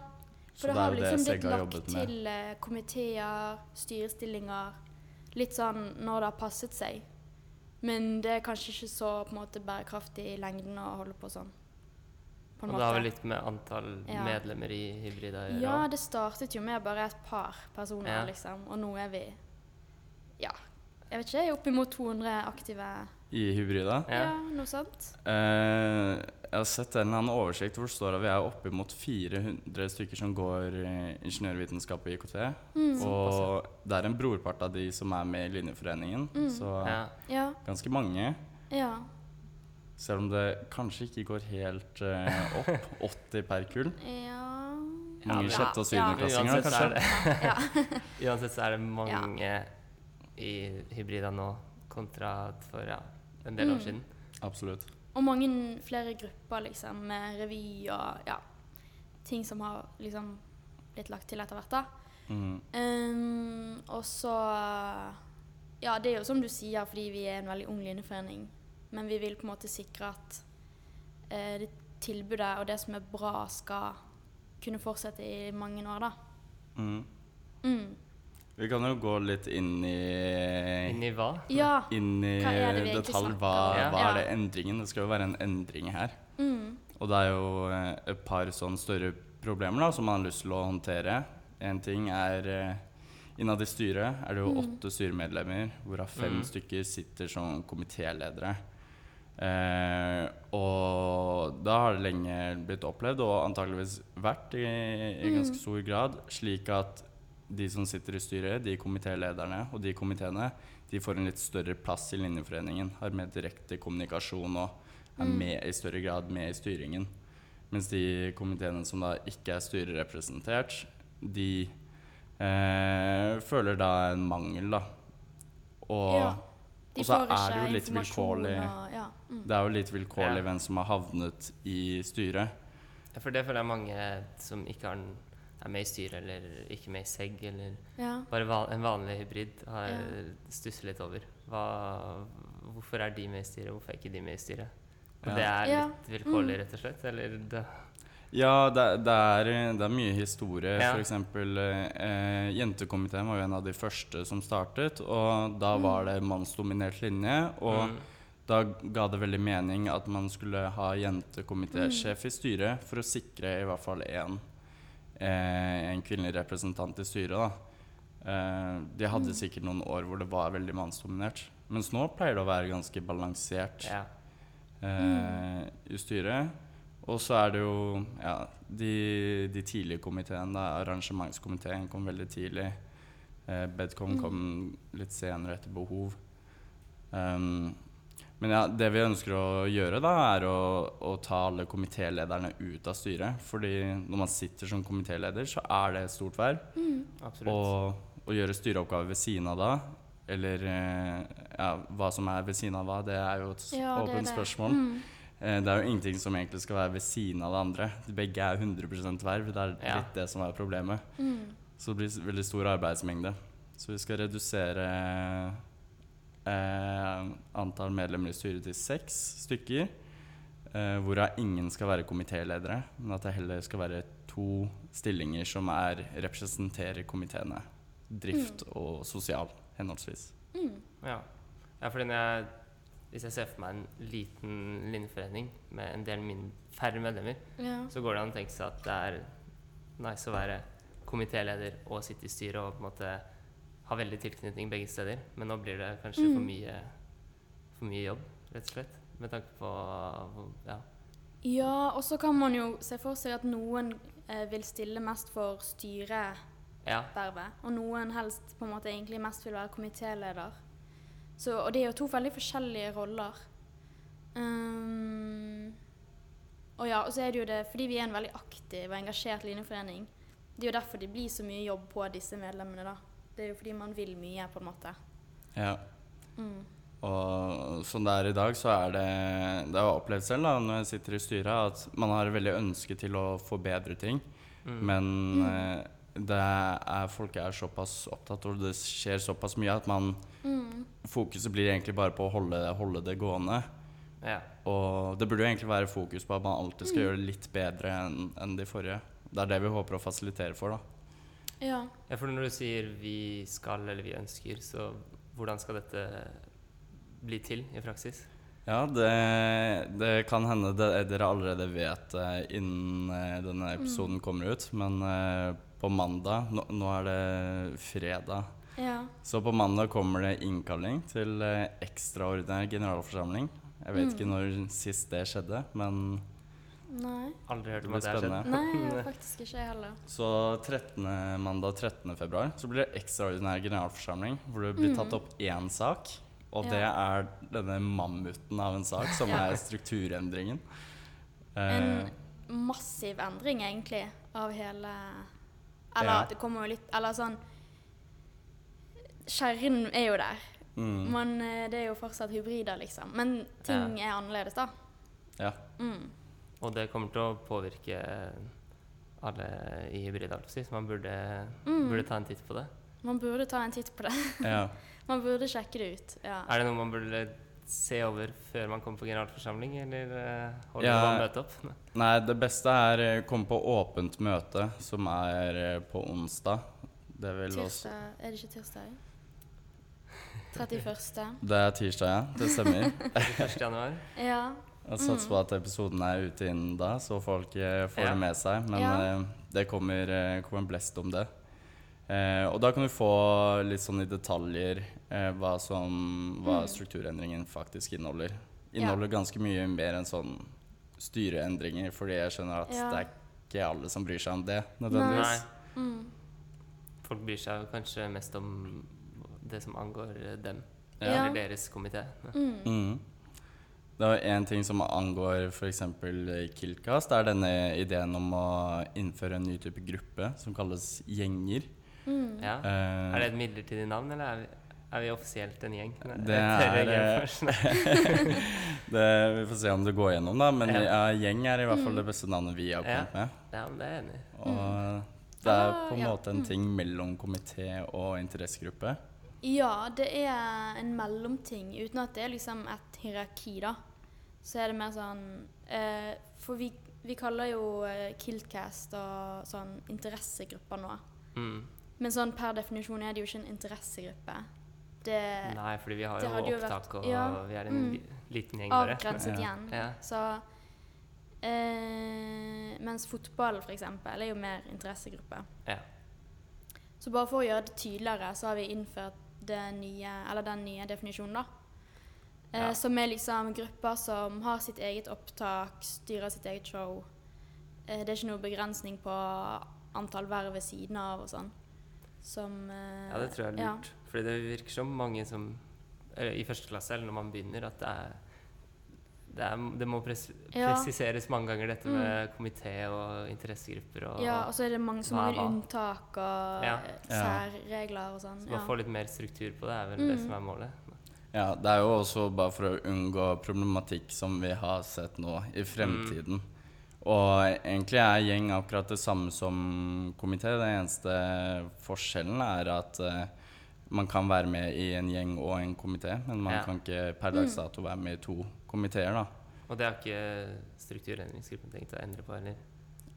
E: Så
A: for det
E: det er
A: har
E: jo det
A: liksom blitt
E: Segga har
A: lagt
E: jobbet med.
A: til eh, komiteer, styrestillinger, litt sånn når det har passet seg. Men det er kanskje ikke så på en måte bærekraftig i lengden å holde på sånn. På
B: Og det har vel litt med antall
A: Ja.
B: medlemmer i hybrida å gjøre.
A: Ja,
B: også.
A: det startet jo med bare et par personer,
B: Ja.
A: liksom. Og nå er vi Ja, jeg vet ikke, oppimot 200 aktive
E: I hybrida.
A: Ja,
B: Ja.
A: noe sånt.
E: Eh, jeg har sett en eller annen oversikt hvor det står at vi er oppimot 400 stykker som går eh, ingeniørvitenskap og IKT.
A: Mm.
E: Og det er en brorpart
A: Mm.
E: av de som er med i Linjeforeningen, så
B: Ja.
A: Ja.
E: ganske mange.
A: Ja.
E: Selv om det kanskje ikke går helt eh, opp. 80 per kull.
A: Ja
E: Mange
B: men-
E: sjette-
C: Ja.
E: og syvendeklassinger da,
B: Uansett så er
E: kanskje.
B: det,
A: ja.
B: uansett så er det mange i hybrider nå kontra for ja, en del
A: Mm.
B: år siden.
E: Absolutt.
A: Og mange flere grupper, liksom, med revy og ja, ting som har liksom blitt lagt til etter hvert, da.
E: Mm.
A: Ehm, og så Ja, det er jo som du sier, fordi vi er en veldig ung linjeforening. Men vi vil på en måte sikre at eh, det tilbudet og det som er bra, skal kunne fortsette i mange år, da.
E: Mm.
A: Mm.
E: Vi kan jo gå litt inn i
B: Inni hva?
A: Ja.
E: inn i
A: Hva er det vi egentlig
E: detalj.
A: snakker
E: Hva,
A: om?
B: Ja.
E: hva
A: Ja.
E: er det endringen? Det skal jo være en endring her.
A: Mm.
E: Og det er jo eh, et par sånn større problemer da, som man har lyst til å håndtere. En ting er eh, Innad i styret er det jo
A: Mm.
E: åtte styremedlemmer, hvorav fem
B: Mm.
E: stykker sitter som komitéledere. Eh, og da har det lenge blitt opplevd, og antakeligvis vært i, i ganske stor grad, slik at de som sitter i styret, de komitélederne og de komiteene, de får en litt større plass i linjeforeningen. Har mer direkte kommunikasjon og er med i større grad med i styringen. Mens de komiteene som da ikke er styrerepresentert, de eh, føler da en mangel, da. Og
A: Ja.
E: og så er det jo litt vilkårlig
A: og ja. Mm.
E: det er jo litt vilkårlig
B: Ja.
E: hvem som har havnet i styret.
B: Ja, For det føler jeg mange som ikke har, en- er med i styret eller ikke med i segg eller
A: Ja.
B: bare va- en vanlig hybrid, har
A: Ja.
B: stusser litt over. Hva, hvorfor er de med i styret, hvorfor er ikke de med i styret? Og
E: Ja.
B: det er
A: Ja. Mm.
B: litt vilkårlig, rett og slett? Eller det,
E: Ja, det, det, er, det er mye historie.
B: Ja.
E: For eksempel eh, Jentekomiteen var jo en av de første som startet. Og da var det mannsdominert linje. Og
B: Mm.
E: da ga det veldig mening at man skulle ha
B: Mm.
E: jentekomitésjef i styret for å sikre i hvert fall én eh, en kvinnelig representant i styret. Da. Eh, de
B: Mm.
E: hadde sikkert noen år hvor det var veldig mannsdominert. Mens nå pleier det å være ganske balansert.
B: ja.
E: eh, i styret. Og så er det jo ja, de, de tidlige komiteene. da. Arrangementskomiteen kom veldig tidlig. Eh,
A: Mm.
E: Bedcom kom litt senere etter behov. Um, men ja, det vi ønsker å gjøre, da, er å, å ta alle komitélederne ut av styret. Fordi når man sitter som komitéleder, så er det et stort verv.
B: absolutt.
E: Og å gjøre styreoppgaver ved siden av da, eller eh, ja, hva som er ved siden av hva, det er jo et s-
A: Ja, det er
E: åpent
A: det. Mm.
E: spørsmål. Eh, Det er jo ingenting som egentlig skal være ved siden av det andre. Begge er 100 verv. Det er litt
B: Ja.
E: det som er problemet. Så det blir s- veldig stor arbeidsmengde. Så vi skal redusere eh, antall medlemmer i styret til seks stykker. Eh, Hvorav ingen skal være komitéledere, men at det heller skal være to stillinger som er, representerer komiteene. Drift og sosial, henholdsvis.
B: Ja. ja, fordi når jeg, hvis jeg ser for meg en liten linjeforening med en del min, færre medlemmer,
A: ja.
B: så går det an å tenke seg at det er nice å være komitéleder og sitte i styret og på en måte ha veldig tilknytning begge steder. Men nå blir det kanskje for, mye, for mye jobb, rett og slett. Med tanke på hvor- ja.
A: Ja, og så kan man jo se for seg at noen eh, vil stille mest for styrevervet,
B: ja.
A: og noen helst på en måte egentlig mest vil være komitéleder. Så, og det er jo to veldig forskjellige roller. Ehm, og ja, og så er det jo det fordi vi er en veldig aktiv og engasjert linjeforening. Det er jo derfor det blir så mye jobb på disse medlemmene, da. Det er jo fordi man vil mye, på en måte.
E: Ja. Og som det er i dag, så er det Det har jeg opplevd selv da, når jeg sitter i styret, at man har veldig ønske til å forbedre ting. Men eh, det er, folk er såpass opptatt, og det skjer såpass mye at man Fokuset blir egentlig bare på å holde, holde det gående.
B: ja.
E: Og det burde jo egentlig være fokus på at man alltid skal gjøre det litt bedre enn enn de forrige. Det er det vi håper å fasilitere for, da.
A: Ja.
B: Ja, for når du sier vi skal eller vi ønsker, så hvordan skal dette bli til i praksis?
E: Ja, det, det kan hende det, dere allerede vet det innen eh, denne episoden kommer ut, men eh, på mandag nå, nå er det fredag.
A: Ja.
E: Så på mandag kommer det innkalling til eh, ekstraordinær generalforsamling. Jeg vet ikke når sist det skjedde, men
A: Nei.
B: Aldri hørt
E: Det
B: om
E: blir
B: at det har skjedd.
E: spennende.
A: Nei, jeg har faktisk ikke, jeg heller.
E: Så 13.
A: Mm.
E: mandag 13. februar så blir det ekstraordinær generalforsamling hvor det blir tatt opp én sak. Og det er denne mammuten av en sak som
A: Ja.
E: er strukturendringen. Eh,
A: En massiv endring, egentlig, av hele Eller
E: Ja.
A: det kommer jo litt Eller sånn Kjernen er jo der.
E: mm,
A: Men eh, det er jo fortsatt hybrider, liksom. Men ting er annerledes, da.
E: ja.
A: Mm.
B: Og det kommer til å påvirke alle i hybrida, så man burde, burde ta en titt på det.
A: Man burde ta en titt på det.
E: ja.
A: Man burde sjekke det ut. Ja.
B: Er det noe man burde se over før man kommer på generalforsamling, eller eh, holder
E: Ja.
B: man møte opp?
E: Nei, det beste er eh, komme på åpent møte, som er eh, på onsdag. Det vil også
A: Tirsdag Er det ikke tirsdag? 31.
E: Det er tirsdag, ja. Det stemmer.
B: 1. januar?
A: Ja.
E: Jeg satser på at episoden er ute innen da, så folk eh, får
B: Ja.
E: det med seg. Men
A: Ja.
E: eh, det kommer, eh, kommer en blest om det. Eh, og da kan du få litt sånn i detaljer eh, hva, som, hva strukturendringen faktisk inneholder. Inneholder ganske mye mer enn sånn styreendringer, fordi jeg skjønner at
A: Ja.
E: det er ikke alle som bryr seg om det
A: Nei. Mm.
E: nødvendigvis.
B: Nei. Folk bryr seg jo kanskje mest om det som angår dem,
A: Ja.
B: eller deres komité.
E: Mm. Det er jo en ting som angår f.eks. Killcast, er denne ideen om å innføre en ny type gruppe som kalles gjenger.
B: Ja.
E: Eh,
B: Er det et midlertidig navn, eller er vi, er vi offisielt en gjeng? Nei,
E: Det
B: jeg
E: er, eh,
B: reagerer først. Nei.
E: det, vi får se om det går gjennom, da. Men
B: Ja. Mm.
E: ja. gjeng er i hvert fall det beste navnet vi har kommet med.
B: Ja, Mm. men det er jeg enig i.
E: Og det er
A: Ah,
E: på en
A: ja.
E: måte
B: Mm.
E: en ting mellom komité og interessegruppe.
A: ja, det er en mellomting. Uten at det er liksom et hierarki, da. Så er det mer sånn eh, For vi, vi kaller jo eh, Kiltcast og sånn interessegrupper nå.
B: Mm.
A: Men sånn per definisjon er det jo ikke en interessegruppe. Det er
B: Nei, fordi vi har
A: Eh, Det
B: jo
A: hadde jo vært-
B: opptak, og
A: ja.
B: vi er en
A: Mm.
B: g- liten gjeng bare.
A: avgrenset
E: Ja.
A: igjen.
B: Ja.
A: Så eh, Mens fotball, for eksempel, er jo mer interessegruppe.
B: Ja.
A: Så bare for å gjøre det tydeligere, så har vi innført det nye, eller den nye definisjonen, da. Eh,
B: Ja.
A: Som er liksom grupper som har sitt eget opptak, styrer sitt eget show. Eh, det er ikke noe begrensning på antall verv ved siden av og sånn. Som eh,
B: ja, det tror jeg er
A: ja.
B: lurt. Fordi det virker som mange som eller, I første klasse, eller når man begynner, at det er det, er, det må pres
A: Ja. Mm.
B: presiseres mange ganger, dette med komité og interessegrupper. Og,
A: Ja, altså, og så er det mange, så
B: Hva er
A: mange
B: hva?
A: unntak og
B: Ja.
A: eh,
E: Ja.
A: særregler og sånn.
B: så
A: Ja. Mm.
B: bare få litt mer struktur på det, er vel det som er målet.
E: Ja, det er jo også bare for å unngå problematikk som vi har sett nå i
B: Mm.
E: fremtiden. Og egentlig er gjeng akkurat det samme som komité. Den eneste forskjellen er at eh, man kan være med i en gjeng og en komité, men man
B: Ja. Mm.
E: kan ikke per dags dato være med i to komiteer, da.
B: Og det har ikke strukturendringsgruppen tenkt å endre på heller.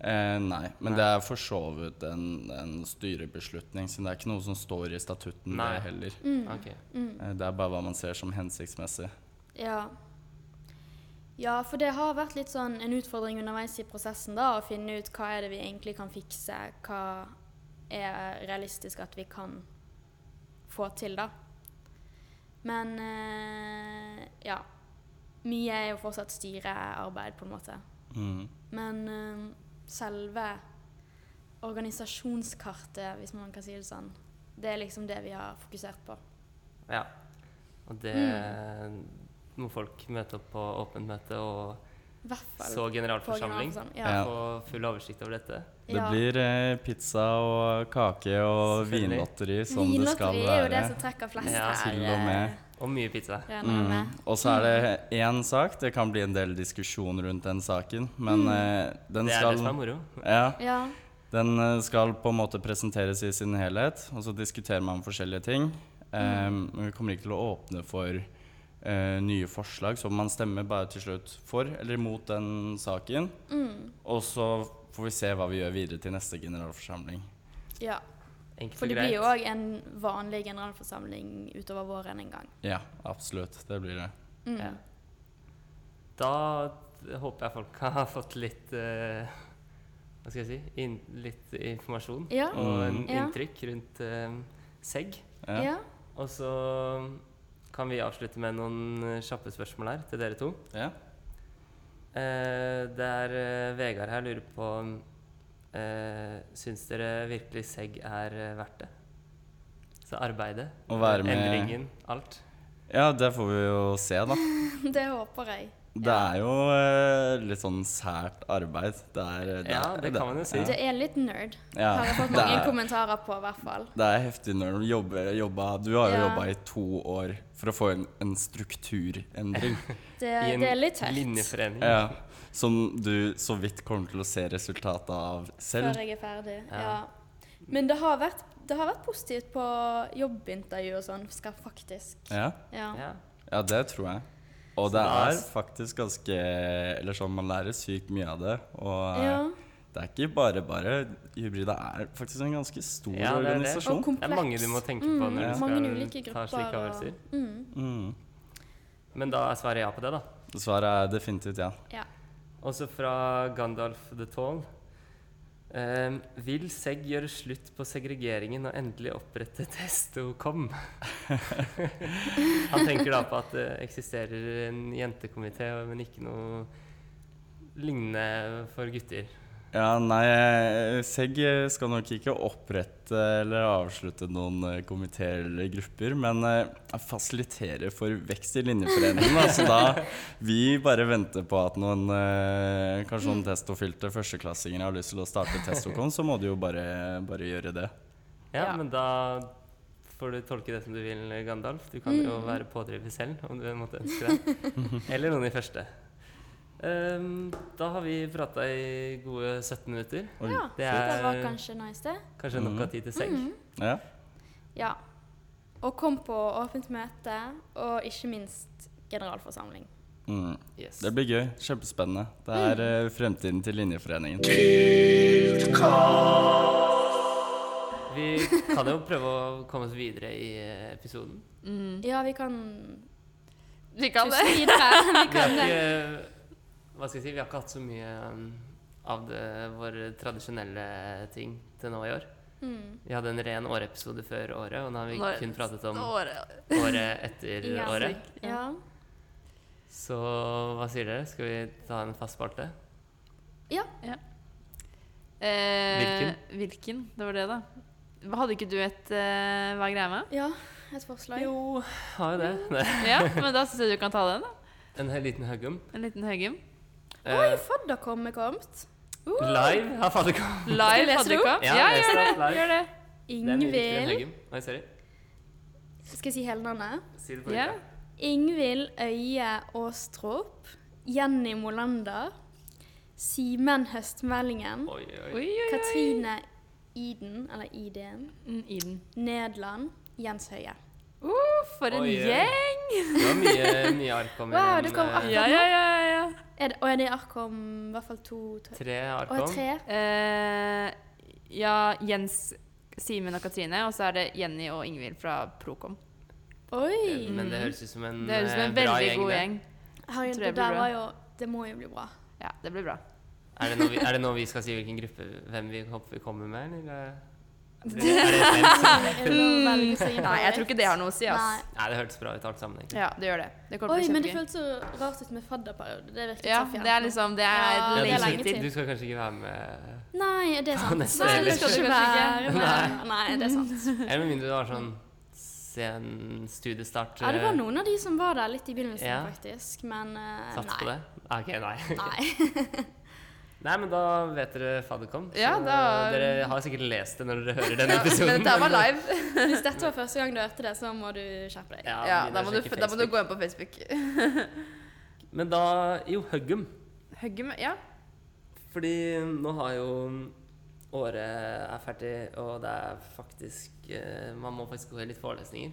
E: Eh, nei, men
B: Nei.
E: det er for så vidt en, en styrebeslutning, siden det er ikke noe som står i statutten
B: Nei.
E: det heller.
A: Mm.
B: Ah, Ok.
E: Eh, det er bare hva man ser som hensiktsmessig.
A: Ja. ja, for det har vært litt sånn en utfordring underveis i prosessen da, å finne ut hva er det vi egentlig kan fikse, hva er realistisk at vi kan få til da. Men eh, ja, mye er jo fortsatt styrearbeid på en måte.
E: Mm.
A: Men eh, selve organisasjonskartet, hvis man kan si det sånn, det er liksom det vi har fokusert på.
B: Ja. Og det
A: Mm.
B: må folk møte opp på åpent møte og
A: I hvert fall
B: så
A: på
B: generalforsamling.
A: generalforsamling.
E: Ja.
B: Få full oversikt over dette.
E: Det blir eh, pizza og kake og
B: Selvfølgelig.
E: vinlotteri som det skal
A: Vinlotteri
E: være.
A: er jo det som trekker flest
B: Ja,
A: her.
E: til og med.
B: Og mye pizza.
A: eh, regner jeg
E: Mm.
A: med.
E: Og så er
A: mm.
E: det én sak. Det kan bli en del diskusjon rundt den saken,
A: Mm.
E: men eh, den
B: Det er det
E: skal
B: som er moro.
E: ja,
A: Ja.
E: den eh, skal på en måte presenteres i sin helhet, og så diskuterer man forskjellige ting. Eh, men vi kommer ikke til å åpne for eh, nye forslag, så man stemmer bare til slutt for eller mot den saken. Og så får vi se hva vi gjør videre til neste generalforsamling.
A: ja.
B: Enkelt
A: For
B: og
A: det blir
B: greit.
A: jo òg en vanlig generalforsamling utover våren en gang.
E: Ja, absolutt. Det blir det.
A: Mm.
B: Ja. Da håper jeg folk har fått litt eh, Hva skal jeg si In litt informasjon
A: Ja.
B: og en
A: Ja.
B: inntrykk rundt eh, segg.
E: Ja.
A: Ja.
B: Og så kan vi avslutte med noen eh, kjappe spørsmål her til dere to.
E: Mm, Ja.
B: Eh, det er eh, Vegard her lurer på eh, Syns dere virkelig segg er eh, verdt det? Så arbeidet,
E: Å være med-
B: endringen, alt.
E: Ja, det får vi jo se, da.
A: Det håper jeg.
E: Det er jo eh, litt sånn sært arbeid. Det er, eh, det
B: Ja,
E: er-
B: det kan man jo si.
E: Ja.
A: Det er litt nerd.
E: Ja,
A: Har jeg fått
E: det
A: mange
E: er-
A: kommentarer på, i hvert fall.
E: Det er heftig når du jobber, jobba, Du har jo
A: Ja.
E: jobba i to år for å få en, en strukturendring.
A: Det,
B: I en
A: Eh, det er litt tøft
B: linjeforening.
E: ja, som du så vidt kommer til å se resultatet av selv.
A: før jeg er ferdig.
B: Ja.
A: Ja. Men det har vært, det har vært positivt på jobbintervju og sånn, skal faktisk.
E: Ja,
A: Ja.
B: Ja.
E: ja det tror jeg. Og det
B: da-
E: er faktisk ganske Eller sånn, man lærer sykt mye av det. Og eh,
A: ja.
E: det er ikke bare bare. Hybrida er faktisk en ganske stor
B: Ja, det er det.
E: organisasjon.
A: Og kom-
B: Det er mange du må tenke på når
E: Mm,
B: du
A: mange
B: skal
A: ulike
B: ta slike
A: grupper og-
B: avgjørelser.
E: Mm.
B: Men da er svaret ja på det, da.
E: Svaret er definitivt ja.
A: ja.
B: Også fra Gandalf the Tall. Ehm, vil Seg gjøre slutt på segregeringen og endelig opprette Testokom? Han tenker da på at det eksisterer en jentekomité, men ikke noe lignende for gutter.
E: Ja, nei, Segg skal nok ikke opprette eller avslutte noen eh, komiteer eller grupper, men eh, fasiliterer for vekst i linjeforeningen. da. Så da vi bare venter på at noen eh, kanskje noen testofilte førsteklassinger har lyst til å starte Testocon, så må du jo bare, bare gjøre det.
B: Ja,
C: Ja.
B: men da får du tolke det som du vil, Gandalf. Du kan jo være pådriver selv, om du måtte ønske det. Eller noen i første. Ehm, da har vi prata i gode 17 minutter.
E: Oi. Mm.
A: ja.
B: Det
A: Det var
B: er-
A: kanskje nice, det.
B: Kanskje nok av tid til seng.
E: Ja.
A: Ja. Og kom på åpent møte, og ikke minst generalforsamling.
E: Mm.
B: Yes.
E: Det blir gøy. Kjempespennende. Det er eh, fremtiden til linjeforeningen.
B: Vi kan jo prøve å komme oss videre i eh, episoden.
A: Ja, vi kan
C: Vi kan
A: puste videre. Vi
B: Vi har
A: kan det.
B: ikke Hva skal jeg si, vi har ikke hatt så mye um, av det, våre tradisjonelle ting til nå i år.
A: Mm.
B: Vi hadde en ren årepisode før året, og nå har vi
C: Nå-
B: kun pratet om
C: Året.
B: året etter
A: Ja.
B: året.
A: Ja.
B: Så hva sier dere? Skal vi ta en fast spalte?
A: ja.
C: Eh, Hvilken? Det var det, da. Hadde ikke du et eh, Hva er greia med?
A: Ja. Et forslag.
B: Jo, har jo det.
C: Ja, men da syns jeg du kan ta den. da
B: En hel liten huggum. Eh,
C: En liten høgum.
A: Oi, fadderkom er kommet.
B: live har fadderkommet.
A: jeg lese
C: Live
A: det opp?
C: fadderkopp.
B: Ja,
C: Ja,
B: les
C: gjør
B: det opp
C: det.
B: live.
C: Gjør det.
A: Ingvild
B: Oi, sorry.
A: Skal jeg si hele navnet?
B: Si det på
C: Ja.
B: yeah.
A: Ingvild Øye Aastrop. Jenny Molander. Simen Høstmeldingen.
B: Oi, oi, oi.
C: Oi, oi, oi.
A: Katrine Iden, eller Ideen.
C: Mm, Iden.
A: Nederland. Jens Høie.
C: Uh, for en
B: Oi, oi.
C: gjeng!
B: Det var mye, mye ark om
A: Wow,
B: igjen,
A: det kom
B: eh,
A: ark.
C: Ja, ja, ja. ja, ja.
A: Er det, og er det i ark om i hvert fall to tre?
B: Tre ark
A: Å,
B: om.
A: tre?
C: Eh, ja, Jens, Simen og Katrine, og så er det Jenny og Ingvild fra Prokom.
A: Oi!
B: Eh, Men det høres ut som en,
C: Det høres ut som en
B: eh, bra
C: veldig god
B: det.
C: gjeng.
A: Herregud,
C: tror
A: det
C: jeg blir
A: der
C: bra.
A: var jo Det må jo bli bra.
C: Ja, det blir bra.
B: Er det, noe vi, er det noe vi skal si hvilken gruppe hvem vi håper vi kommer med, eller? eh? Er det, er det fint?
A: Nei,
C: Nei, jeg tror ikke det har noe å si, ass.
B: Nei, det hørtes bra ut alt sammen, egentlig.
C: Ja, det gjør det. Det kommer
A: Oi,
C: til å
A: men
C: bli
A: det
C: kjempegøy.
A: føltes så rart ut med fadderperiode. Det virket
C: Ja,
A: så fjernt.
C: det er liksom Det er
A: Ja, det er
C: lenge
A: lenge
B: du,
A: til.
C: til.
B: du skal kanskje ikke være med
A: Nei, det er sant.
B: Neste
A: Nei,
B: heller.
A: det skal du ikke
C: Kanskje
A: være med. Nei, det er sant.
B: Eller med mindre du har sånn sen studiestart
A: Ja, det var
B: eh,
A: noen av de som var der litt i begynnelsen,
B: Ja.
A: faktisk. Men eh,
B: Sats på
A: nei.
B: det? Ah, Ok, nei.
A: Nei.
B: Nei, men da vet dere fadderkom. så
C: Ja, da-
B: Dere har sikkert lest det når dere hører denne
C: Ja, men
B: episoden.
C: dette var live.
A: Hvis dette var første gang du hørte det, så må du skjerpe deg.
B: Ja,
C: Ja,
B: begynner
C: da
B: å
C: må, du,
B: sjekke
C: da må du
B: Facebook.
C: gå inn på Facebook.
B: Men da Jo, Huggum.
C: Høgge med Ja.
B: Fordi nå har jo året er ferdig, og det er faktisk eh, Man må faktisk gå i litt forelesninger.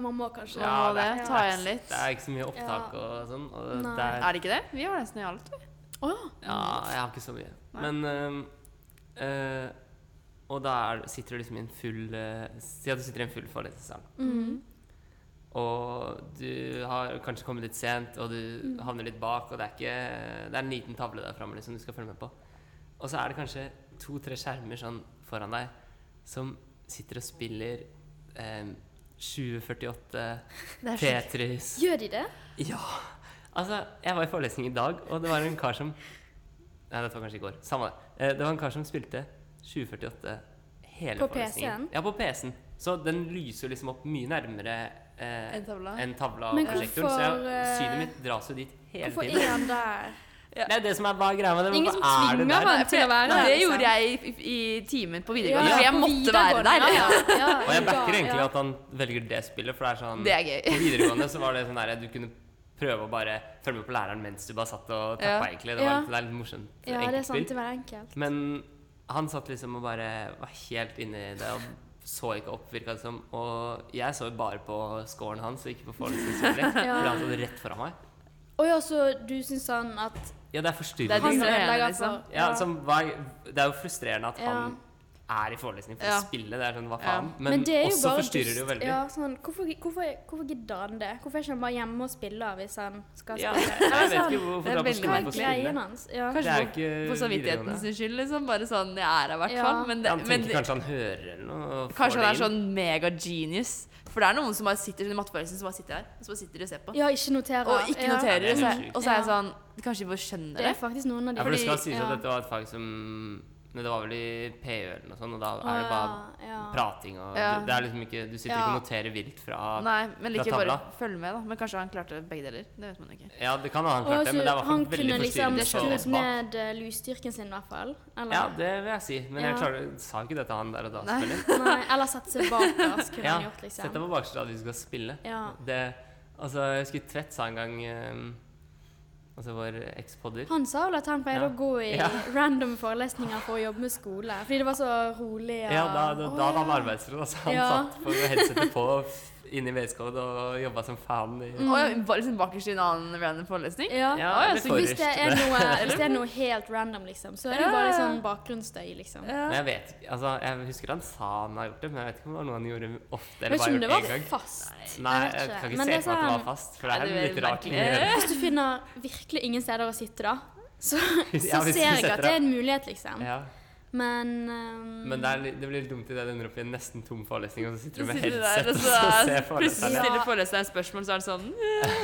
A: Man må kanskje
C: Ja,
B: Ja,
C: det.
B: det
C: Ta igjen litt.
B: Det er ikke så mye opptak og sånn. Og
A: Nei.
B: det er,
C: Er det ikke det? Vi har nesten i alt. vi.
A: Åh,
B: Ja, jeg har ikke så mye.
C: Nei.
B: Men øhm, øh, Og da er, sitter du liksom i en full øh, Si at du sitter i en full forelesningssal.
C: Mm.
B: Og du har kanskje kommet litt sent, og du
C: Mm.
B: havner litt bak, og det er ikke Det er en liten tavle der framme liksom, du skal følge med på. Og så er det kanskje to-tre skjermer sånn foran deg som sitter og spiller eh, øhm, 2048
C: Det er så-
B: Tetris.
A: Gjør de det?
B: Ja. Altså, jeg var i forelesning i dag, og det var en kar som Nei, dette var kanskje i går. Samme det. Eh, Det var en kar som spilte 2048 hele
A: På PC-en?
B: forelesningen. Ja, på PC-en. Så den lyser jo liksom opp mye nærmere eh,
C: En tavle?
B: en tavle av
A: Men
B: prosjektoren, så jeg,
A: hvorfor,
B: synet
A: eh,
B: mitt dras jo dit hele
A: Hvorfor
B: tiden.
A: er han der?
B: Det er det som er bare greia med det.
A: Ingen
B: Hvorfor
A: som
B: er det
A: tvinger
B: der?
A: han. vant til å være der,
C: det
A: liksom.
C: gjorde jeg i, i timen på videregående,
B: Ja,
C: for jeg
A: på
C: måtte være der.
A: videregående, ja, ja,
B: Og jeg backer
A: ja.
B: egentlig at han velger det spillet, for det er sånn
C: Det er gøy.
B: På videregående så var det sånn der du kunne prøve å bare følge med på læreren mens du bare satt og tappa,
C: Ja.
B: egentlig. Det, var
A: Ja.
B: litt, det er litt morsomt.
A: Ja, det er
B: enkelt
A: sant.
B: spill.
A: Det var enkelt.
B: Men han satt liksom og bare var helt inne i det og så ikke opp, virka det som. Og jeg så jo bare på scoren hans og ikke på forelesningsspillet,
A: Ja.
B: fordi han satt rett foran meg.
A: Å ja, så du syns han at
B: Ja, det er
C: Det er
B: forstyrrende.
A: han
C: distraherende,
A: ødelegger for
C: liksom.
B: Ja, som, hva, det er jo frustrerende at
A: Ja.
B: han er i forelesning for
C: Ja.
B: å spille. Det er sånn, hva
C: Ja.
B: faen? Men,
A: det er jo
B: også
A: bare
B: forstyrrer
A: dust.
B: det jo veldig.
A: Ja, sånn, hvorfor, hvorfor, hvorfor gidder han det? Hvorfor er ikke han bare hjemme og spiller hvis han skal
B: Ja.
A: spille?
B: Jeg vet
A: Altså,
B: ikke hvorfor
C: det er
B: det er på
A: Hva
C: veldig
B: skolen
A: er
B: for å spille.
A: greien hans? Ja.
C: Kanskje
B: Det er jo
C: på-
B: ikke
C: på samvittigheten
B: eh, videregående.
C: sin skyld, liksom. Bare sånn Jeg er her, i hvert
A: Ja.
C: fall. Men det,
B: Han
C: men
B: tenker
C: det,
B: kanskje han hører eller noe. og får
C: kanskje han
B: det
C: er
B: inn.
C: sånn mega-genius. For det er noen som bare sitter i matteforelesning som bare sitter her og så bare sitter de og ser på.
A: ja, ikke notere.
C: Og ikke
A: ja.
C: noterer.
B: Ja, det er
C: så
B: helt
C: jeg-
B: sjukt.
C: Og så er jeg
A: Ja.
C: sånn Kanskje de bare skjønner
A: Det
C: det?
A: er faktisk noen av
B: Ja,
A: de.
B: for det
C: fordi-
B: skal sies
A: ja.
B: at dette var et fag som Men det var vel i PØ eller noe sånt, og da er det bare
A: ja.
B: prating og
C: Ja.
B: det er liksom ikke, Du sitter ikke
A: Ja.
B: og noterer vilt fra
C: Nei, men
B: Fra
C: liker bare
B: tavla.
C: følge med, da. Men kanskje han klarte begge deler. Det vet man ikke.
B: Ja, det kan ha han klart
A: Og
B: det, men det er i
A: så
B: hvert
A: han
B: fall veldig
A: kunne liksom
B: forstyrrende. for
A: skrudd
B: oss bak.
A: ned eh, lysstyrken sin, i hvert fall. Eller,
B: Ja, det vil jeg si, men jeg
A: Ja.
B: klarer, sa ikke dette han der og da.
C: Nei.
B: selvfølgelig.
A: Nei, eller satt seg bakerst, kunne
B: Ja,
A: han gjort,
B: Sett deg
A: liksom.
B: på bakerste rad hvis du skal spille.
A: Ja.
B: Det, altså, jeg husker Tvedt sa en gang eh, Altså vår ekspodder
A: Han sa vel at han pleide
B: Ja.
A: å gå i
B: Ja.
A: random forelesninger for å jobbe med skole, fordi det var så rolig. og-
B: Ja, da, da,
A: Å,
B: da hadde han
A: ja.
B: arbeidsro. Altså. Han
A: Ja.
B: satt på headsetet på inne i VS-kode og jobba som fan. I,
C: Og jeg var liksom bakerst i en annen random forelesning.
A: Ja.
B: Ja,
C: Å, ja,
B: eller
C: så
A: Hvis
B: forrest.
A: det, er noe, hvis det er noe helt random, liksom, så er det jo bare litt sånn bakgrunnsstøy, liksom. Jeg
B: Men jeg vet ikke, altså, jeg husker han sa han har gjort det, men jeg vet ikke om det var noe han gjorde ofte.
A: vet
B: Eller
A: ikke
B: bare
A: om det
B: gjort
A: var
B: én gang.
A: fast.
B: Nei,
A: jeg vet
B: jeg
A: ikke.
B: kan ikke
A: Men
B: se
A: det
B: for meg at det
A: sånn-
B: var fast, for
C: Nei,
B: det er
C: det
B: en
C: er
B: litt
C: veldig
B: rar ting å
C: merkelig.
B: gjøre.
A: Hvis du finner virkelig ingen steder å sitte, da, så,
B: Ja,
A: så
B: hvis du
A: ser jeg
B: setter
A: at det er en mulighet, liksom.
B: Ja.
A: Men ehm,
B: Men det, er, litt- det blir litt dumt i det du ender opp i en nesten tom forelesning, og så sitter
C: Så
B: du med
C: sitter du der,
B: headset
C: og
B: og
C: så
B: så ser
C: er- plutselig
B: foreleseren.
A: Ja.
C: stiller foreleseren spørsmål, så er det sånn